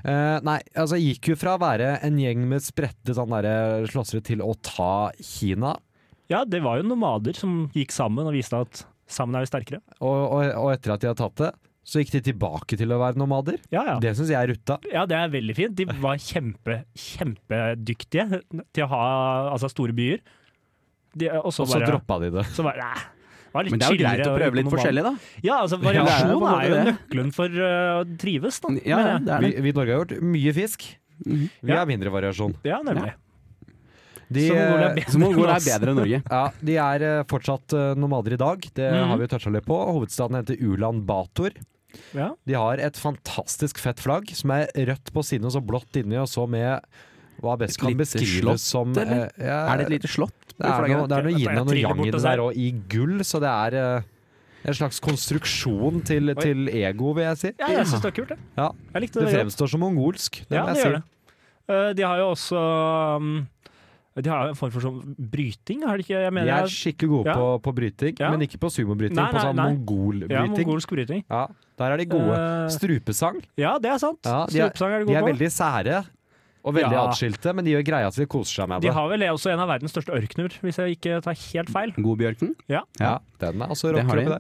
S5: Eh, nei, altså jeg gikk jo fra å være en gjeng med spredte sånn derre slåssere til å ta Kina.
S4: Ja, det var jo nomader som gikk sammen og viste at sammen er vi sterkere.
S5: Og, og, og etter at de har tatt det, så gikk de tilbake til å være nomader.
S4: Ja, ja. Det.
S5: Det syns jeg er rutta.
S4: ja, det er veldig fint. De var kjempe, kjempedyktige til å ha altså, store byer. De, og så
S5: Og så
S4: bare,
S5: droppa de det.
S4: så bare nei, var litt
S6: Men det er jo
S4: chillere
S6: greit å
S4: og
S6: prøve litt
S4: nomader.
S6: forskjellig, da.
S4: Ja, altså
S6: det er jo
S4: Variasjon
S6: på en
S4: er jo
S6: måte
S4: nøkkelen for øh, å trives, da.
S6: Ja,
S4: mener
S6: ja,
S4: jeg.
S6: det er
S5: Vi,
S6: det.
S5: vi i Norge har gjort mye fisk.
S6: Mhm.
S5: Vi
S4: Ja.
S5: har mindre variasjon.
S4: ja nemlig.
S5: De,
S4: Så Mongolia er
S5: eh,
S4: bedre
S6: Så Mongolia
S4: enn
S6: er
S4: oss.
S6: bedre enn Norge.
S5: ja, de er eh, fortsatt eh, nomader i dag, det
S4: Mhm.
S5: har vi jo toucha litt på. Hovedstaden heter Ulan Bator.
S4: Ja.
S5: De har et fantastisk fett flagg som er rødt på siden og så blått inni, og så med hva best
S6: Et
S5: kan
S6: lite
S5: beskrives
S6: slott,
S5: som
S6: eller?
S5: eh, ja,
S6: Er det et lite slott?
S5: Det er noe, det er noe
S4: Jeg
S5: yin og noe
S4: triller
S5: yang
S4: bort
S5: i
S4: og
S5: det
S4: ser.
S5: der, og i gull, så det er eh, en slags konstruksjon til, til ego, vil jeg si.
S4: Ja, jeg syns det var kult, det.
S5: Ja.
S4: Jeg likte
S5: Det
S4: det. godt.
S5: fremstår som mongolsk. Det
S4: Ja,
S5: må
S4: det
S5: jeg
S4: gjør
S5: si.
S4: det. Eh, De har jo også um, De har jo en form for sånn bryting, har de ikke? Jeg mener,
S5: De er skikkelig gode
S4: Ja.
S5: på, på bryting,
S4: Ja.
S5: men ikke på sumobryting.
S4: Nei,
S5: På
S4: nei,
S5: sånn
S4: nei.
S5: mongolbryting.
S4: ja,
S5: Ja,
S4: mongolsk bryting.
S5: der er de gode.
S4: Eh,
S5: Strupesang.
S4: ja, det er sant.
S5: Ja, de er-
S4: Strupesang er de
S5: De
S4: gode
S5: er
S4: på.
S5: veldig sære og veldig
S4: Ja.
S5: atskilte, men de gjør greia si, koser seg med
S4: De
S5: det.
S4: har vel også en av verdens største ørkener, hvis jeg ikke tar helt feil.
S6: Godbjørken?
S5: Ja, den er også
S6: Det har
S5: rocker
S6: de.
S5: oppi der.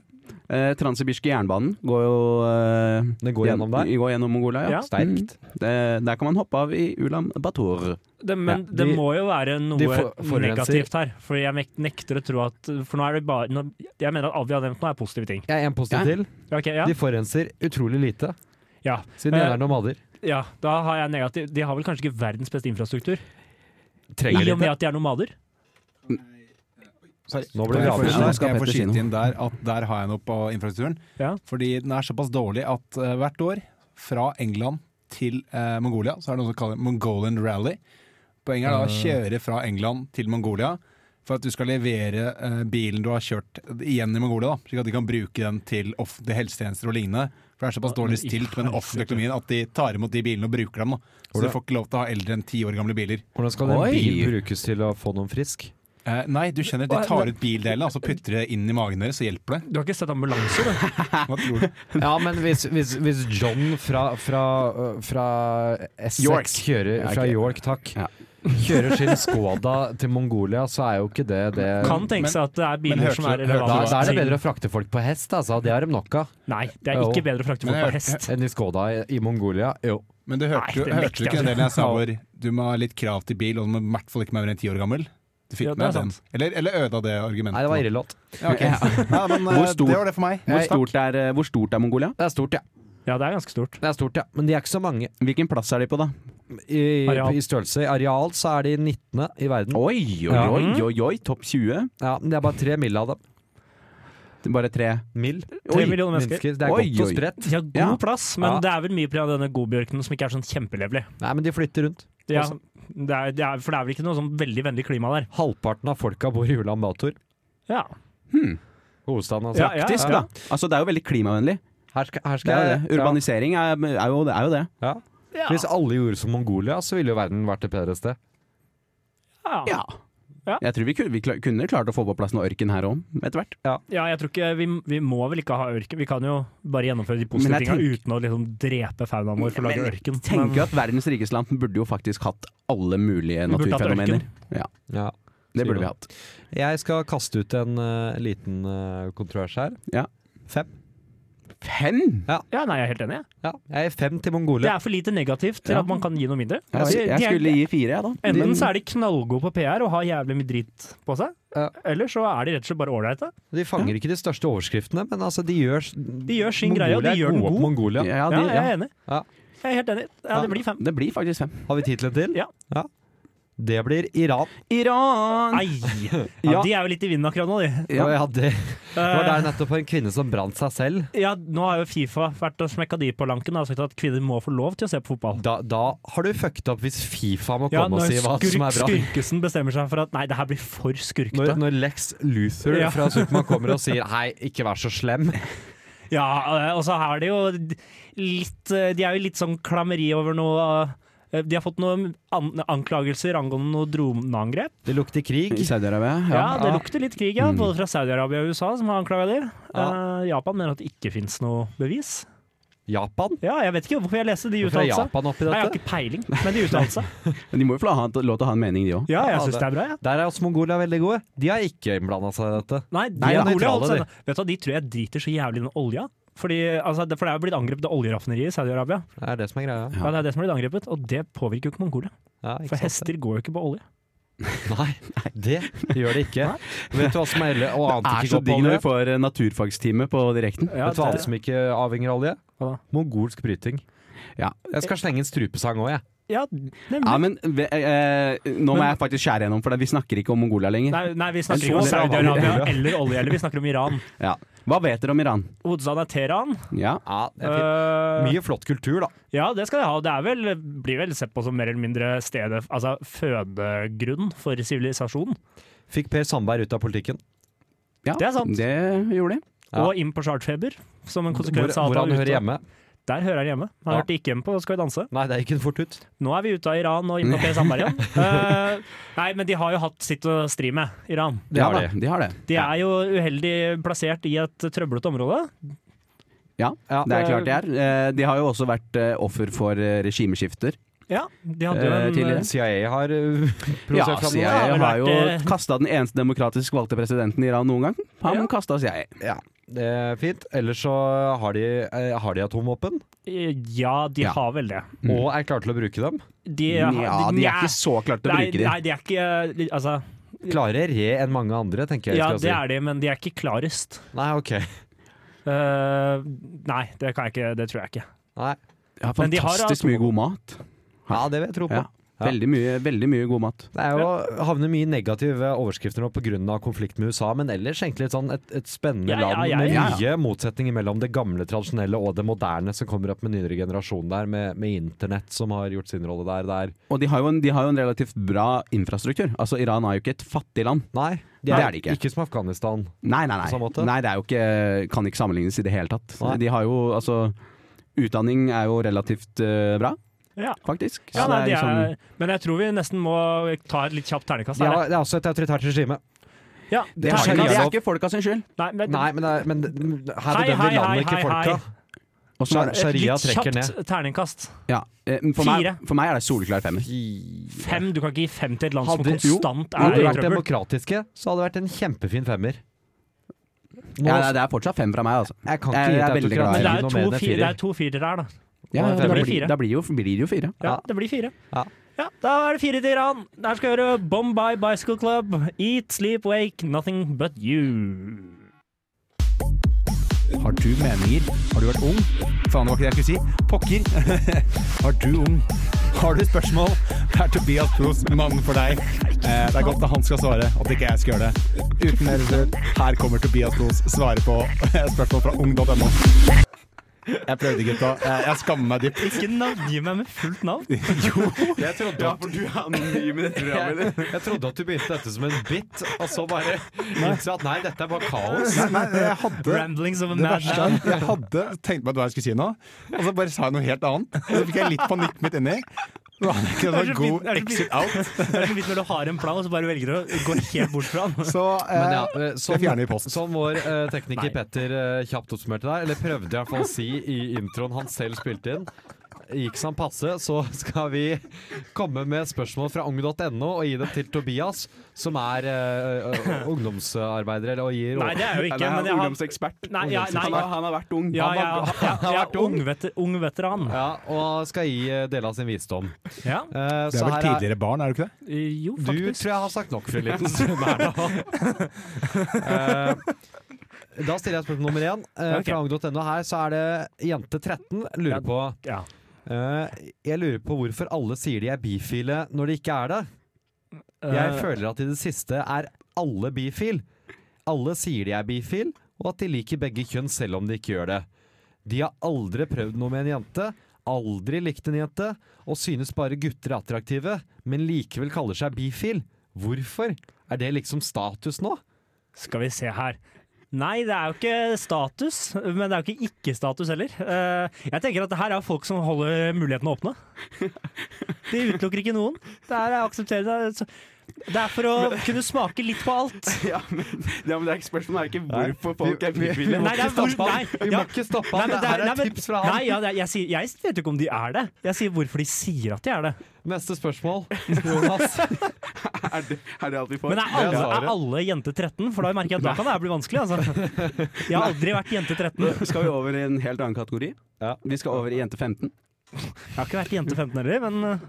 S6: Eh, Transsibirske jernbanen går jo eh,
S5: Det går gjennom der?
S6: Går gjennom Mongolia, ja.
S4: Ja.
S5: Sterkt.
S6: Mm. Det, der kan man hoppe av i Ulan Bator.
S4: Det,
S5: Ja,
S4: men det
S5: de-
S4: må jo være
S5: de
S4: noe
S5: for- forurenser.
S4: negativt her. For jeg mek- nekter å tro at For nå er det bare nå, Jeg mener at alt vi har nevnt nå, er positive ting.
S5: Jeg er en positiv
S6: Ja.
S5: til.
S4: Ok, ja,
S5: De forurenser utrolig lite,
S4: ja,
S5: siden de
S4: Eh,
S5: er nomader.
S4: ja, da har jeg negativ De har vel kanskje ikke verdens beste infrastruktur? I
S5: Trenger
S4: og med at de er nomader?
S7: Sorry.
S5: Nå ble vi
S7: Kan jeg få-
S5: avbrutt.
S6: avbrutt.
S7: Nå skal jeg få
S6: Petter si
S7: skyte
S6: noe.
S7: inn der at der har jeg noe på infrastrukturen.
S4: Ja.
S7: Fordi den er såpass dårlig at eh, hvert år, fra England til eh, Mongolia, så er det noe som kalles Mongolian Rally. Poenget er da å kjøre fra England til Mongolia for at du skal levere eh, bilen du har kjørt igjen i Mongolia, da, slik at de kan bruke den til offentlige helsetjenester og lignende. For det er såpass
S4: Ja, men
S7: dårlig
S4: i
S7: stilt med den offentlige økonomien at de tar imot de bilene og bruker dem. Da. Så du får ikke lov til å ha eldre enn ti år gamle biler.
S5: Hvordan skal en
S6: Oi.
S5: bil brukes til å få noen frisk?
S7: Eh, nei, du skjønner, de tar ut bildelene og så putter det inn i magen deres, så hjelper det.
S4: Du har ikke sett ambulanser, du?
S7: Hva tror du?
S5: Ja, men hvis, hvis, hvis John fra, fra, øh, fra S6
S6: York.
S5: kjører Fra
S6: ok.
S5: York, takk.
S6: Ja.
S5: Kjører sin Skoda til Mongolia, så er jo ikke det det
S4: Kan tenke
S7: Men-
S4: seg at det er
S7: men
S4: biler
S7: hørte
S4: som
S7: du-
S4: er
S5: da,
S7: hørte du
S4: relevante.
S5: da er det
S4: til-
S5: bedre å frakte folk på hest, altså. Det har de nok av.
S4: Nei, det er
S5: Jo.
S4: ikke bedre å frakte
S7: Men
S4: folk
S7: jeg
S4: på
S7: hørte-
S4: hest.
S5: En i Skoda i, i Mongolia. Jo.
S7: Men du hørte,
S4: Nei, det
S7: du, hørte
S4: nekter
S7: du ikke
S4: jeg.
S7: den delen jeg sa hvor du må ha litt krav til bil, og du må i hvert fall ikke være mer enn ti år gammel? Du fikk
S4: Ja, det
S7: med
S4: er
S7: den. Eller, eller øda det argumentet?
S5: Nei, det var irrelåt.
S7: Ja, ok. Ja, men,
S6: Hvor
S7: eh,
S6: stor-
S7: Det var det for meg.
S6: Hvor stort, er, eh, hvor stort er Mongolia?
S5: Det er stort, ja.
S4: Ja, det er ganske stort.
S5: Det er stort, ja. Men de er ikke så mange.
S6: Hvilken plass er de på, da?
S5: I,
S4: Areal.
S5: i størrelse. I areal så er de 19. i verden.
S6: Oi, oi,
S5: Ja.
S6: oi, oi, oi, topp 20?
S5: Ja, men det er bare tre mil av dem.
S6: Det er Bare tre.
S5: Mill.
S4: Tre millioner mennesker.
S5: Mennesker. Det er
S6: Oi,
S5: godt og
S6: oi.
S5: spredt.
S4: De har god
S6: Ja.
S4: plass, men
S5: Ja.
S4: det er vel mye pga. denne godbjørken som ikke er sånn kjempelevelig.
S5: Nei, men de flytter rundt.
S4: Ja, det er, det er, for det er vel ikke noe sånn veldig vennlig klima der.
S5: Halvparten av folka bor i Ulan Bator.
S4: Ja.
S5: Hovedstaden, altså.
S4: Ja,
S6: Faktisk,
S4: ja.
S6: da. Altså, det er jo veldig klimavennlig.
S5: Her skal, her
S6: Det
S5: skal
S6: er jo
S5: jeg-
S6: det. Urbanisering er, er, jo, er jo det.
S5: Ja. Ja.
S4: Ja.
S5: Hvis alle gjorde som Mongolia, så ville jo verden vært et bedre sted.
S4: Ja.
S6: Ja. Jeg tror vi kunne, vi kla- kunne klart å få på plass noe ørken her òg, etter hvert.
S4: ja, jeg tror ikke vi, vi må vel ikke ha ørken. Vi kan jo bare gjennomføre de positive
S6: Men jeg
S4: tinga uten å liksom drepe faunaen vår for å lage ørken.
S6: Tenker at verdens rikeste land burde jo faktisk hatt alle mulige
S4: Vi burde hatt
S6: naturfenomener.
S4: ørken.
S5: Ja.
S6: Det burde vi hatt.
S5: Jeg skal kaste ut en eh, liten eh, kontrovers her.
S6: Ja.
S5: Fem.
S6: Fem?
S4: Ja, nei, jeg er helt enig. jeg.
S5: Ja, jeg er fem til
S4: Det
S5: Mongolia.
S4: er for lite negativt til
S6: Ja.
S4: at man kan gi noe mindre.
S6: Jeg,
S4: De-
S6: sk-
S4: de
S6: jeg
S4: er-
S6: skulle gi fire, jeg, da.
S4: Enten så er de knallgode på PR og har jævlig mye drit på seg,
S5: Ja.
S4: eller så er de rett og slett bare ålreite.
S5: De fanger ikke de største overskriftene, men altså, de gjør De
S4: gjør sin greie, og de gjør den god.
S5: Mongolia.
S4: Ja,
S6: Ja, de,
S4: jeg
S6: ja.
S4: er enig.
S5: Ja.
S4: Jeg er helt enig. Ja, det blir fem.
S6: Det blir faktisk fem.
S5: Har vi tittelen til?
S4: Ja.
S5: Det blir Iran.
S6: Iran!
S4: Nei! Ja,
S6: Ja.
S4: de er jo litt i vinden akkurat nå, de.
S5: Ja.
S6: Ja.
S5: ja, det det
S4: Eh.
S5: var der nettopp en kvinne som brant seg selv.
S4: Ja, nå har jo Fifa vært og smekka de på lanken og sagt at kvinner må få lov til å se på fotball.
S5: Da, da har du fucked opp hvis Fifa må
S4: Ja,
S5: komme og
S4: når
S5: si hva
S4: skurk,
S5: som er bra.
S4: Skurkesen bestemmer seg for at nei, det her blir for
S5: Når,
S4: skurkete.
S5: når Lex Luther
S4: Ja.
S5: fra Supermann kommer og sier 'hei, ikke vær så slem',
S4: Ja, eh, og så er det jo litt eh, De er jo litt sånn klammeri over noe eh, De har fått noen an anklagelser angående noe droneangrep.
S5: det lukter krig.
S6: I Saudi-Arabia?
S4: Ja,
S6: Ja.
S4: det lukter litt krig, ja. Både fra Saudi-Arabia og USA som har anklaga de.
S5: Mm. Ja.
S4: Eh, Japan mener at det ikke fins noe bevis.
S5: Japan?
S4: Ja, jeg vet ikke hvorfor jeg leste de
S5: Hvorfor er
S4: uttalelsene.
S5: Japan oppi
S4: Nei, Jeg har
S5: dette?
S4: ikke peiling, men de uttalelsene.
S6: Men de må jo få ha, lov til å ha en mening, de òg.
S4: Ja, jeg
S5: Ja,
S4: syns
S5: det-
S4: det er bra, jeg. Ja.
S5: Der er oss Mongolia veldig gode. De har ikke innblanda seg i dette.
S4: Nei, de
S5: Nei, da,
S4: er rolig,
S5: nøytrale,
S4: altså. Vet du hva, de tror jeg driter så jævlig i den olja. Fordi, altså, det, for det er jo blitt angrepet av oljeraffineriet i Saudi-Arabia.
S5: Det er det som er greia.
S4: Ja. det er det som har blitt angrepet, og det påvirker jo ikke Mongolia.
S5: Ja, ikke
S4: For
S5: sant det?
S4: hester går jo ikke på olje.
S5: Nei, det gjør det ikke. Vet du hva som er ille, og annet
S6: Er
S5: ikke
S6: så
S5: går på
S6: digg når
S5: olje?
S6: vi får eh, naturfagstime på direkten.
S5: Vet du hva annet som ikke avhenger av olje?
S4: Hva da? Eh,
S5: Mongolsk bryting.
S6: Ja.
S5: Jeg skal slenge en strupesang òg, jeg.
S4: Ja, nemlig.
S6: Ja, men ve- eh, Nå må
S4: Men-
S6: jeg faktisk skjære gjennom, for det- vi snakker ikke om Mongolia lenger.
S4: Nei, nei, vi snakker
S6: Jeg
S4: ikke om
S6: tror det er
S4: Saudi-Arabia eller olje, eller vi snakker om Iran.
S6: Ja. Hva vet dere om Iran?
S4: Hovedstaden er Teheran.
S6: Ja.
S5: Ja, det er fint.
S4: Eh,
S5: Mye flott kultur, da.
S4: ja, det skal de ha. Det er vel, blir vel sett på som mer eller mindre stedet, altså fødegrunn for sivilisasjonen.
S5: Fikk Per Sandberg ut av politikken.
S6: ja.
S4: Det er sant.
S6: Det gjorde de.
S5: Ja.
S4: Og inn på chartfeber, som en
S5: Hvor,
S4: konsekvens av
S5: hvor
S4: at
S5: han hører
S4: ute-
S5: hjemme.
S4: Der hører han hjemme. Han
S5: Ja.
S4: hørte ikke hjemme på Skal vi danse.
S5: Nei, det gikk hun fort ut.
S4: Nå er vi ute av Iran og inne på Per Sandberg igjen. Eh, nei, men de har jo hatt sitt å stri med, Iran.
S5: Det har
S6: ja,
S5: de.
S6: da, de har det.
S4: De er jo uheldig plassert i et trøblete område.
S6: Ja,
S5: Ja.
S6: det er klart de er. Eh, De har jo også vært eh, offer for eh, regimeskifter.
S4: Ja, de hadde jo
S6: Eh,
S4: en
S6: tidligere.
S5: CIA har uh,
S6: Ja,
S5: provosert fram noe.
S6: CIA
S4: har vel
S6: har jo
S4: vært, eh,
S6: kasta den eneste demokratisk valgte presidenten i Iran noen gang. Han
S4: Ja.
S6: kastet kasta CIA. Ja.
S5: det er fint. Ellers så har de, eh, har de atomvåpen,
S4: Eh, Ja, de
S6: Ja.
S4: har vel det.
S5: og er klare til å bruke dem.
S4: De,
S6: Ja,
S4: har-
S6: de
S4: Nja.
S6: er ikke så klare til å
S4: Nei,
S6: bruke det.
S4: Nei, de er ikke Altså,
S5: Klarere enn mange andre, tenker jeg. skal
S4: ja,
S5: jeg
S4: det
S5: si.
S4: er de, men de er ikke klarest.
S5: Nei, ok.
S4: Eh, nei, det kan jeg ikke. Det tror jeg ikke.
S5: Nei.
S6: Ja,
S4: Men de har altså-
S6: fantastisk mye god mat.
S5: Ja, det vil jeg tro på.
S6: Ja. Veldig mye, veldig mye god mat.
S5: Det er jo havner mye negative overskrifter nå pga. konflikt med USA, men ellers egentlig et, sånn, et, et spennende
S4: Ja, ja, ja,
S5: land med
S4: ja,
S5: mye motsetninger mellom det gamle, tradisjonelle og det moderne som kommer opp med nyere generasjon der, med, med internett som har gjort sin rolle der. der.
S6: Og de har, jo en, de har jo en relativt bra infrastruktur. Altså, Iran er jo ikke et fattig land.
S5: Nei,
S6: Det er det ikke.
S5: Ikke som Afghanistan.
S6: Nei, nei,
S5: På samme
S6: nei.
S5: måte?
S6: nei det er jo ikke, eh, kan ikke sammenlignes i det hele tatt.
S5: Nei.
S6: De har jo altså Utdanning er jo relativt eh, bra,
S4: Ja.
S6: faktisk.
S4: Ja,
S6: Så
S4: nei, de
S6: det er liksom-
S4: er, men jeg tror vi nesten må ta et litt kjapt ternekast.
S5: Det
S4: her,
S5: er, det er også et autoritært regime.
S4: jeg. Ja,
S6: det,
S5: har
S6: er
S5: de
S6: ikke,
S5: ikke
S6: det er
S5: lov.
S6: ikke folka sin skyld.
S4: Nei, men,
S5: Nei, men, det er, men det- her
S4: Hei,
S5: bedømmer
S4: hei,
S5: landet
S4: hei,
S5: ikke
S4: hei, hei.
S5: folka.
S6: Og så er
S5: Sha-
S6: det-
S5: Sharia
S4: et litt
S5: trekker ned.
S4: kjapt terningkast.
S6: ja, eh, for, meg,
S4: Fire.
S6: for meg er det soleklar femmer.
S4: Fem. Du kan ikke gi fem til et land som
S5: Hadde- jo,
S4: konstant
S5: Hadde
S4: er
S5: de
S4: i
S5: vært
S4: trøbbel.
S5: demokratiske, så hadde det vært en kjempefin femmer. Nå,
S6: Ja, nei, det er fortsatt fem fra meg, altså.
S5: jeg kan
S6: jeg-
S5: ikke gi
S6: jeg
S5: et
S6: er veldig glad i
S5: autokrati
S4: Men
S5: noe mer
S4: det er jo to,
S5: enn en
S4: fire, det
S5: firer.
S4: er to firere her, da.
S6: Ja,
S5: Og en
S6: da
S5: femmer.
S6: blir, da blir, jo, blir det jo fire.
S4: Ja,
S5: Ja.
S4: Det blir fire.
S5: Ja.
S4: Ja, Da er det fire til Iran. Der skal vi høre Bombay Bicycle Club. Eat, sleep, wake, nothing but you.
S7: Har du meninger? Har du vært ung? Faen, det var ikke det jeg skulle si. Pokker! Har du ung? Har du spørsmål? Det er Tobias Pros, mannen for deg. Eh, det er godt at han skal svare, at ikke jeg skal gjøre det. Uten mer tull, her kommer Tobias Pros svare på spørsmål fra ung.no. Jeg prøvde, gutta. Jeg, jeg skammer meg dypt.
S4: Ikke navngi meg med fullt navn.
S6: Jeg trodde ja, for du er anonym i dette programmet.
S5: Jeg, jeg trodde at du begynte dette som en bit, og så bare innså at nei, dette er bare kaos.
S7: Nei, nei, jeg hadde
S4: Ramblings of a
S7: Det
S4: mad
S7: verste
S4: man.
S7: er at jeg hadde tenkt meg hva jeg skulle si nå, og så bare sa jeg noe helt annet. Og så fikk jeg litt panikk midt inni. Så hadde jeg
S4: Det
S7: ikke
S4: er
S7: noen
S4: så fint-
S7: god
S4: det er så fint-
S7: exit out.
S4: Det er så fint når du har en plan, og så bare velger du å gå helt bort fra den.
S7: Så
S5: Men
S7: eh,
S5: ja, eh,
S7: jeg
S5: som,
S7: fjerner i posten.
S5: som vår eh, tekniker
S4: Nei.
S5: Petter eh, kjapt oppsummerte der, eller prøvde i hvert fall å si i introen han selv spilte inn, gikk som passe, så skal vi komme med spørsmål fra ung.no og gi dem til Tobias, som er eh, eh, ungdomsarbeider, eller og gir
S4: Nei, det er jo ikke, men jeg har
S6: ungdomsekspert.
S4: Nei, ja, nei.
S6: Han, har- han har vært ung.
S4: Ja,
S6: Han
S4: jeg,
S6: var-
S4: jeg, jeg, jeg er ung, veter, ung veteran.
S5: ja, og skal gi eh, del av sin visdom.
S4: Ja.
S5: Eh,
S7: Du
S5: så
S7: er vel
S5: her
S7: tidligere barn, er du ikke det?
S4: Jo,
S5: Du
S4: faktisk.
S5: tror jeg har sagt nok for en liten stund her nå. Eh, Da stiller jeg spørsmål nummer én. Eh,
S4: Ok.
S5: Fra ung.no her så er det jente 13 lurer på
S4: Ja.
S5: eh, Jeg lurer på hvorfor alle sier de er bifile når de ikke er det. Jeg
S4: Eh,
S5: føler at i det siste er alle bifil. Alle sier de er bifil, og at de liker begge kjønn selv om de ikke gjør det. De har aldri prøvd noe med en jente, aldri likt en jente, og synes bare gutter er attraktive, men likevel kaller seg bifil. Hvorfor? Er det liksom status nå?
S4: Skal vi se her. Nei, det er jo ikke status, men det er jo ikke ikke-status heller. Eh, Jeg tenker at det her er jo folk som holder mulighetene åpne. De utelukker ikke noen. Det her er aksepterende. Det er for å kunne smake litt på alt.
S6: Ja, men, ja, men det er ikke spørsmålet er ikke hvorfor folk er
S5: vi-
S6: bifile.
S4: Nei, det er hvor, nei,
S5: Vi
S4: ja.
S5: må ikke stoppe
S4: Nei,
S5: han.
S4: men
S5: Det her
S4: nei,
S5: er
S4: men-
S5: tips fra han.
S4: Nei, ja, det er- jeg, sier, jeg vet jo ikke om de er det. Jeg sier hvorfor de sier at de er det.
S5: Neste spørsmål. Jonas.
S6: Er det, er det alt vi får?
S4: Men er alle,
S5: Det er
S4: er
S5: svaret.
S4: alle jente 13? For da merker jeg at da kan det her bli vanskelig. Altså. Jeg har aldri vært jente 13.
S6: Nå skal vi over i en helt annen kategori.
S5: Ja.
S6: Vi skal over i jente 15.
S4: Jeg har ikke vært jente 15 heller, men eh,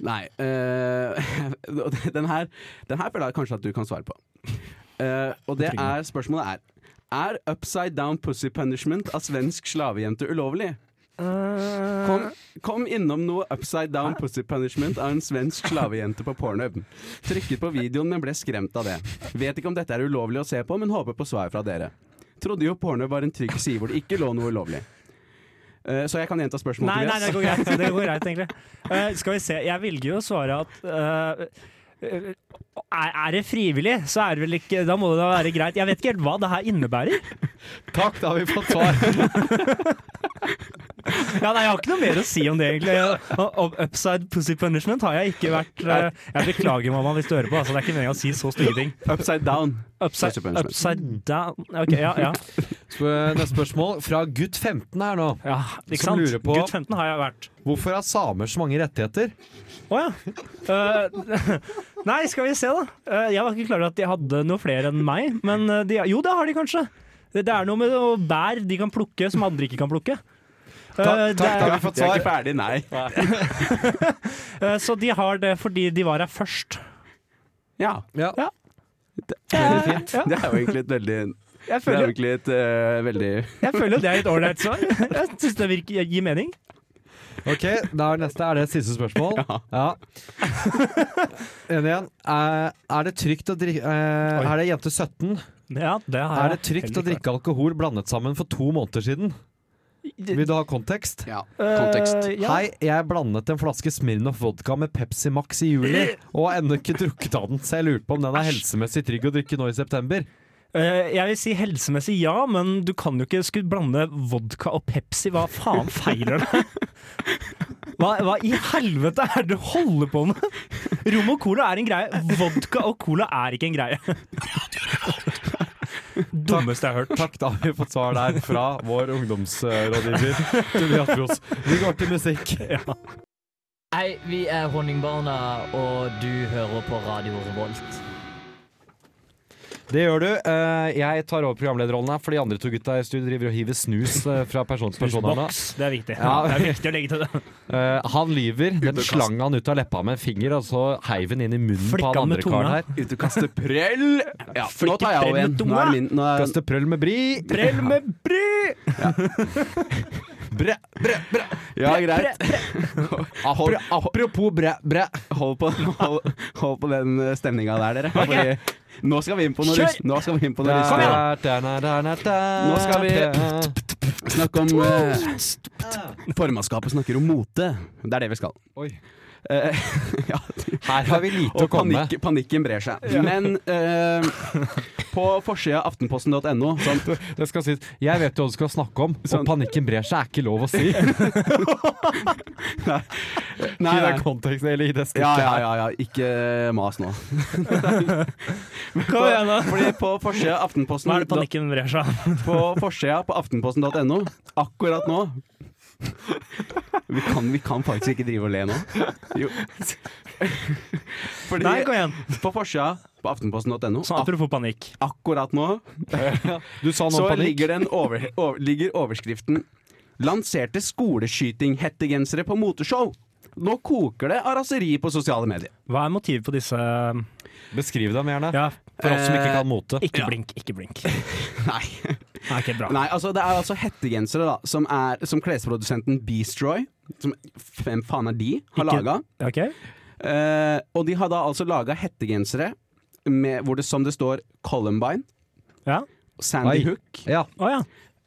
S6: Nei eh, den, her, den her føler jeg kanskje at du kan svare på. Eh, og det er spørsmålet er Er upside down pussy punishment av svensk slavejente ulovlig?
S4: Eh.
S6: Kom, kom innom noe upside down pussy punishment av en svensk slavejente på pornhub. Trykket på videoen, men ble skremt av det. Vet ikke om dette er ulovlig å se på, men håper på svar fra dere. Trodde jo pornhub var en trygg side hvor det ikke lå noe ulovlig. Eh, så jeg kan gjenta spørsmålet,
S4: Nei, nei,
S6: Tobias.
S4: det går greit, det går greit egentlig. Eh, skal vi se, jeg velger jo å svare at eh, eh, er, er det frivillig, så er det vel ikke Da må det da være greit. Jeg vet ikke helt hva det her innebærer.
S5: Takk, da har vi fått svar.
S4: Ja, nei, Jeg har ikke noe mer å si om det, egentlig. Og- Og upside pussy punishment har jeg ikke vært eh, Jeg beklager, mamma, hvis du hører på. Altså, det er ikke meningen å si så stygge ting.
S6: Upside down. Pussy
S4: Upside,
S6: punishment.
S4: upside down OK, ja. ja.
S5: Sp- Neste spørsmål fra gutt 15 her nå.
S4: ja ikke
S5: Som
S4: sant?
S5: lurer på-
S4: Gutt 15 har jeg vært.
S5: Hvorfor har samer så mange rettigheter?
S4: Å ja. Eh, nei, skal vi se, da. Eh, jeg var ikke klar over at de hadde noe flere enn meg. Men eh, de, jo, det har de kanskje. Det, det er noe med å bær de kan plukke, som andre ikke kan plukke. Eh,
S7: Takk,
S4: det
S7: takk,
S4: er-
S7: da har vi fått
S6: Jeg er
S7: svar.
S6: ikke ferdig, nei.
S4: eh, så de har det fordi de var her først.
S6: Ja.
S5: Ja.
S6: Veldig
S4: Eh, Ja,
S6: fint. Det er jo egentlig et veldig
S4: Jeg
S6: Det er jo
S4: føler,
S6: egentlig et eh, veldig
S4: jeg føler jo det er et ålreit svar. Jeg syns det virker, gir mening.
S5: Ok, da er neste er det siste spørsmål. Ja. Enig igjen. Er, er det trygt å drikke eh, Er det jente 17?
S4: Ja, det har
S5: Er det
S4: jeg
S5: trygt
S4: heller
S5: å drikke alkohol blandet sammen for to måneder siden?
S4: ikke.
S5: Vil du ha kontekst?
S6: Ja,
S4: Eh,
S6: kontekst.
S4: ja.
S5: Hei, jeg blandet en flaske Smirnoff vodka med Pepsi Max i juli, og har ennå ikke drukket av den, så jeg lurer på om den er helsemessig trygg å drikke nå i september.
S4: Eh, jeg vil si helsemessig ja, men du kan jo ikke skulle blande vodka og Pepsi. Hva faen feiler deg? Hva, hva i helvete er det du holder på med? Rom og cola er en greie. Vodka og cola er ikke en greie. Dummeste jeg har hørt.
S5: Takk, da har vi fått svar der fra vår ungdomsrådgiver Tobias Bros. Vi går til musikk.
S9: Hei, vi er Honningbarna, og du hører på Radio Revolt.
S5: Det gjør du. Eh, jeg tar over programlederrollen her, for de andre to gutta i studio driver og hiver snus eh, fra person til person. her nå.
S4: Boks, det er viktig.
S5: Ja.
S4: Det er viktig å legge til det.
S5: Eh, han lyver. Den
S6: Utekast.
S5: slang han ut av leppa med en finger, og så heiv den inn i munnen
S4: Flikka
S5: på han
S4: med
S5: andre karen
S4: tunga.
S5: her.
S6: Ute og Eh, kaste prell. Ja, nå tar jeg
S4: prell
S6: over igjen.
S4: med
S6: Nå er det min.
S9: Eh,
S6: Nå er,
S5: Kaste prøll med bri.
S4: Prell med bry!
S6: Bre, bre, bre. Ja, greit. Hold,
S5: Apropos bræ, bræ.
S6: hold, på, hold, hold på den eh, stemninga der, dere. Fordi nå skal vi inn på noe
S4: Kjør!
S6: rus. Nå skal vi inn på noe rus.
S5: Nå
S6: Nå skal vi snakke om eh, Formannskapet snakker om mote. Det er det vi skal.
S5: Oi.
S6: Eh, ja,
S5: Her har vi lite å
S6: og
S5: komme
S6: panikk,
S5: med.
S6: panikken brer seg. Men eh, på forsida av aftenposten.no sånn,
S5: Det skal sies. Jeg vet jo hva du skal snakke om,
S6: Sånn.
S5: og panikken brer seg er ikke lov å si.
S6: Nei,
S5: I
S6: nei.
S5: den konteksten, eller i det
S6: Ja,
S5: stikket
S6: ja,
S5: her.
S6: ja, ja, ikke mas nå.
S4: Kom igjen, da.
S6: Fordi på forsida av Aftenposten
S4: Nå er det panikken brer seg.
S6: På forsida på aftenposten.no akkurat nå vi kan, vi kan faktisk ikke drive og le nå. Jo. Fordi
S4: Nei, kom igjen.
S6: på forsida på aftenposten.no
S4: Sånn apropos panikk.
S6: ak- akkurat nå
S5: Du sa noe
S6: så
S5: om panikk.
S6: ligger, den over, over, ligger overskriften 'Lanserte skoleskyting-hettegensere på moteshow'. Nå koker det av raseri på sosiale medier.
S4: Hva er motivet på disse
S5: Beskriv dem gjerne.
S4: Ja,
S5: For oss som
S6: eh,
S5: ikke kan mote.
S4: ikke blink, ikke blink.
S6: Nei.
S4: Nei, ikke bra.
S6: Nei, altså Det er altså hettegensere da som, er, som klesprodusenten Beastroy, som hvem faen er de, har
S4: Ikke-
S6: laga.
S4: Ok?
S6: Eh, og de har da altså laga hettegensere med, hvor det, som det står Columbine,
S4: Ja.
S6: Sandy
S5: Oi.
S6: Hook,
S5: Ja.
S4: Å ja.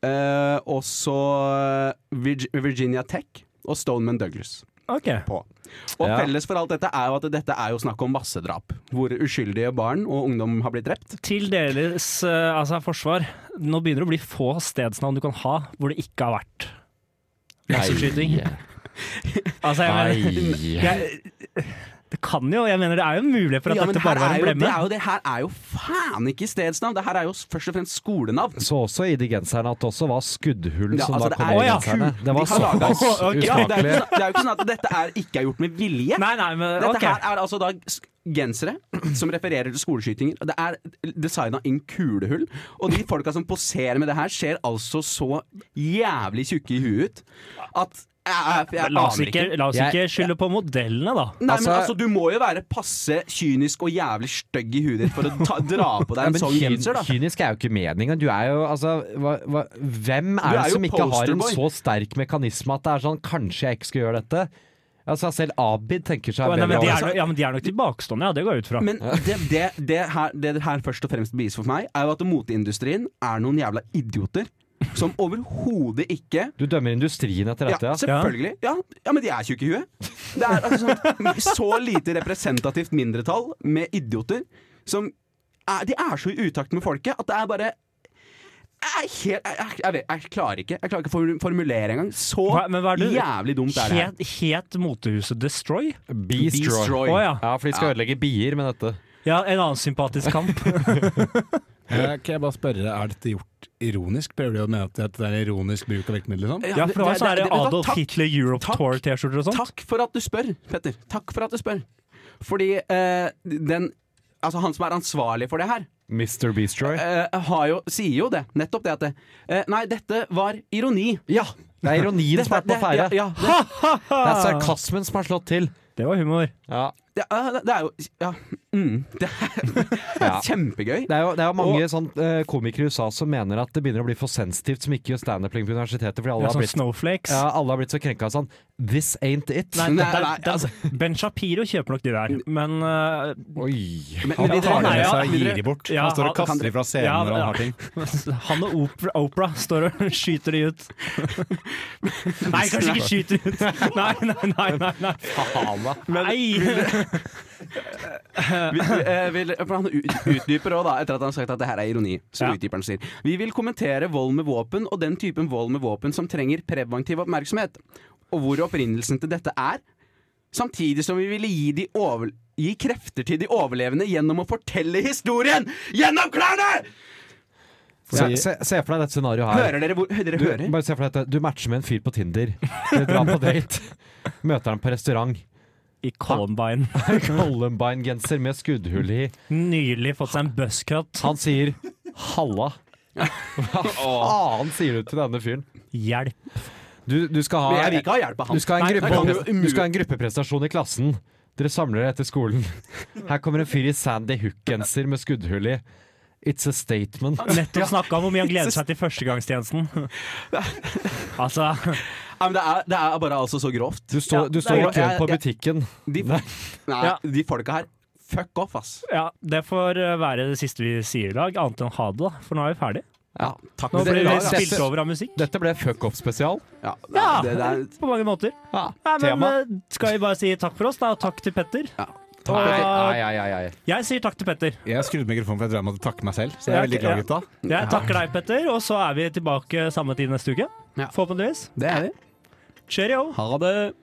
S6: eh, og så eh, Virg- Virginia Tech og Stoneman Douglas.
S4: Ok.
S6: Og
S5: Ja.
S6: felles for alt dette er jo at dette er jo snakk om massedrap, hvor uskyldige barn og ungdom har blitt drept.
S4: Til deres eh, altså, forsvar, nå begynner det å bli få stedsnavn du kan ha hvor det ikke har vært masseskyting. Altså, jeg mener,
S5: Nei.
S4: jeg, det kan jo, jeg mener det er jo en mulighet for at
S6: Ja, men
S4: dette
S6: her
S4: bare var
S6: er,
S4: en
S6: jo, det
S4: blemme.
S6: er jo, det her er jo faen ikke stedsnavn, det her er jo s- først og fremst skolenavn.
S5: Så også i de genserne at det også var skuddhull
S6: Ja,
S5: som
S6: altså,
S5: da
S6: det
S5: kom
S6: er-
S5: i
S4: Å, ja.
S5: genserne. Det
S6: De
S5: var
S6: har laget-
S5: såpass
S4: Å, ok.
S6: Ja, det, er jo
S5: usmakelig.
S6: ikke sånn, det er jo ikke sånn at dette er, ikke er gjort med vilje.
S4: Nei, nei, men
S6: Dette
S4: ok.
S6: her er altså da s- gensere som refererer til skoleskytinger. og Det er designa inn kulehull. Og de folka som poserer med det her, ser altså så jævlig tjukke i huet ut at jeg, jeg, jeg
S4: La oss
S6: aner
S4: ikke,
S6: ikke.
S4: la oss
S5: Jeg-
S4: ikke skylde på modellene, da.
S6: Nei, men
S5: Altså-
S6: altså, Du må jo være passe kynisk og jævlig stygg i huet ditt for å ta, dra på
S5: Ja,
S6: deg en
S5: men
S6: sånn
S5: kyn-
S6: genser, da.
S5: kynisk er jo ikke meninga. Du er jo altså hva, hva, Hvem
S6: Du
S5: er
S6: er
S5: det
S6: jo
S5: som ikke har en
S6: posterboy.
S5: så sterk mekanisme at det er sånn Kanskje jeg ikke skal gjøre dette? Altså Selv Abid tenker seg
S4: Å, Nei,
S5: bedre
S4: men de er,
S5: om.
S4: no- ja, men de er nok tilbakestående, ja. Det går jeg ut fra.
S6: Men det det, det, her, det det her først og fremst beviser for meg, er jo at moteindustrien er noen jævla idioter som overhodet ikke
S5: Du dømmer industrien etter dette,
S6: Ja,
S5: ja?
S6: selvfølgelig. Ja, ja men de er tjukke i huet. Det er altså sånn, så lite representativt mindretall med idioter som er, De er så i utakt med folket at det er bare jeg, er helt, jeg, jeg, jeg, vet, jeg klarer ikke Jeg klarer ikke å formu- formulere engang. Så
S4: Hva- men hva er det-
S6: jævlig dumt er det her.
S4: Het, het motehuset Destroy?
S5: Beastroy.
S4: Å ja.
S5: Ja, for de skal ødelegge bier med dette.
S4: Ja, en annen sympatisk kamp.
S7: Eh, Kan jeg bare spørre, er dette gjort ironisk? Prøver du å mene at det er en ironisk bruk av virkemidler? Sånn?
S4: Ja, for det var sånn her
S6: det- det-
S4: Adolf
S6: takk-
S4: Hitler Europe
S6: takk.
S4: sånn. Tour-T-skjorter og sånt.
S6: Takk for at du spør, Petter. Takk for at du spør. Fordi eh, den altså han som er ansvarlig for det her,
S5: Mr. Beastroy.
S6: eh, har jo, sier jo det. Nettopp det at det, eh, Nei, dette var ironi.
S5: Ja! Det er ironien som er på
S6: ja,
S5: ferde.
S6: ja, det,
S5: Det er sarkasmen som er slått til.
S4: Det var humor.
S5: Ja.
S6: det, er- det er jo Ja. Mm, det er
S5: Ja.
S6: kjempegøy.
S5: Det er jo, det er jo mange sånn, eh, komikere i USA som mener at det begynner å bli for sensitivt som ikke gjør standup lenger på universitetet, fordi
S4: Det
S5: alle
S4: er
S5: har
S4: sånn
S5: blitt,
S4: snowflakes.
S5: ja, alle har blitt så krenka sånn This ain't it.
S4: Nei,
S6: Nei,
S4: det er-
S6: nei,
S4: det er- Ben Shapiro kjøper nok de der, men øh,
S5: Oi.
S6: Men-
S7: Han
S6: men-
S7: tar det
S4: Nei,
S7: med
S4: ja,
S7: seg og gir
S6: videre.
S7: de bort.
S4: Ja,
S7: Han står og
S4: han-
S7: kaster de fra scenen
S4: ja,
S7: når han
S4: ja.
S7: har ting.
S4: han og Oprah, Oprah står og skyter de ut. Nei, kanskje ikke skyter de ut. Nei, nei, nei. nei, nei.
S5: Faen, da.
S4: nei.
S6: Vi, eh, vil, for han ut- utdyper òg, da, etter at han har sagt at det her er ironi. Så
S4: Ja.
S6: utdyper han sier Vi vil kommentere vold med våpen og den typen vold med våpen som trenger preventiv oppmerksomhet, og hvor opprinnelsen til dette er, samtidig som vi ville gi, de over, gi krefter til de overlevende gjennom å fortelle historien gjennom klærne!
S5: Se, se, se for deg dette scenarioet her.
S6: Hører dere hvor hører dere
S5: Du,
S6: hører?
S5: bare se for deg dette. Du matcher med en fyr på Tinder. Dere drar på date. Møter ham på restaurant.
S4: I Columbine.
S5: Columbine-genser med skuddhull i.
S4: Nylig fått seg en buzzcut.
S5: Han sier 'halla'. Hva faen sier du til denne fyren?
S4: Hjelp.
S5: Du, du skal
S6: Men
S5: ha
S6: jeg vil ikke ha hjelp av
S5: Du
S6: han.
S5: skal, ha en
S6: Nei, det kan
S5: gruppe,
S6: jo umulig-
S5: du skal ha en gruppeprestasjon i klassen. Dere samler dere etter skolen. Her kommer en fyr i Sandy Hook-genser med skuddhull i. It's a statement.
S4: Nettopp snakka om hvor mye han gleder seg til førstegangstjenesten. Altså,
S6: Ja, men det, er, det er bare altså så grovt.
S5: Du står, du
S6: det er
S5: står
S6: jo-
S5: i køen
S6: jeg-
S5: på
S6: jeg-
S5: butikken.
S6: De,
S5: Nei.
S6: nei,
S4: Ja.
S6: de folka her, fuck off, ass.
S4: ja, det får eh, være det siste vi sier i dag, annet enn ha det, da. For nå er vi ferdig.
S6: Ja, takk
S4: Nå
S6: for
S4: blir vi
S6: dere. Ja,
S4: spilt over av musikk.
S5: Dette ble fuck off-spesial.
S6: Ja,
S4: Ja,
S6: det, det er,
S4: på mange måter.
S5: Ja,
S4: Nei, men
S5: tema.
S4: eh, skal vi bare si takk for oss, da? Og takk til Petter.
S5: Nei, nei, nei, nei, nei.
S4: Jeg sier takk til Petter.
S7: Jeg skrudde av mikrofonen for jeg drev med å takke meg selv, så jeg er
S4: Ja,
S7: veldig glad, gutta.
S4: Jeg takker deg, Petter, og så er vi tilbake samme tid neste uke.
S6: Ja.
S4: Forhåpentligvis.
S6: det er vi.
S4: Cheerio!
S6: Ha det.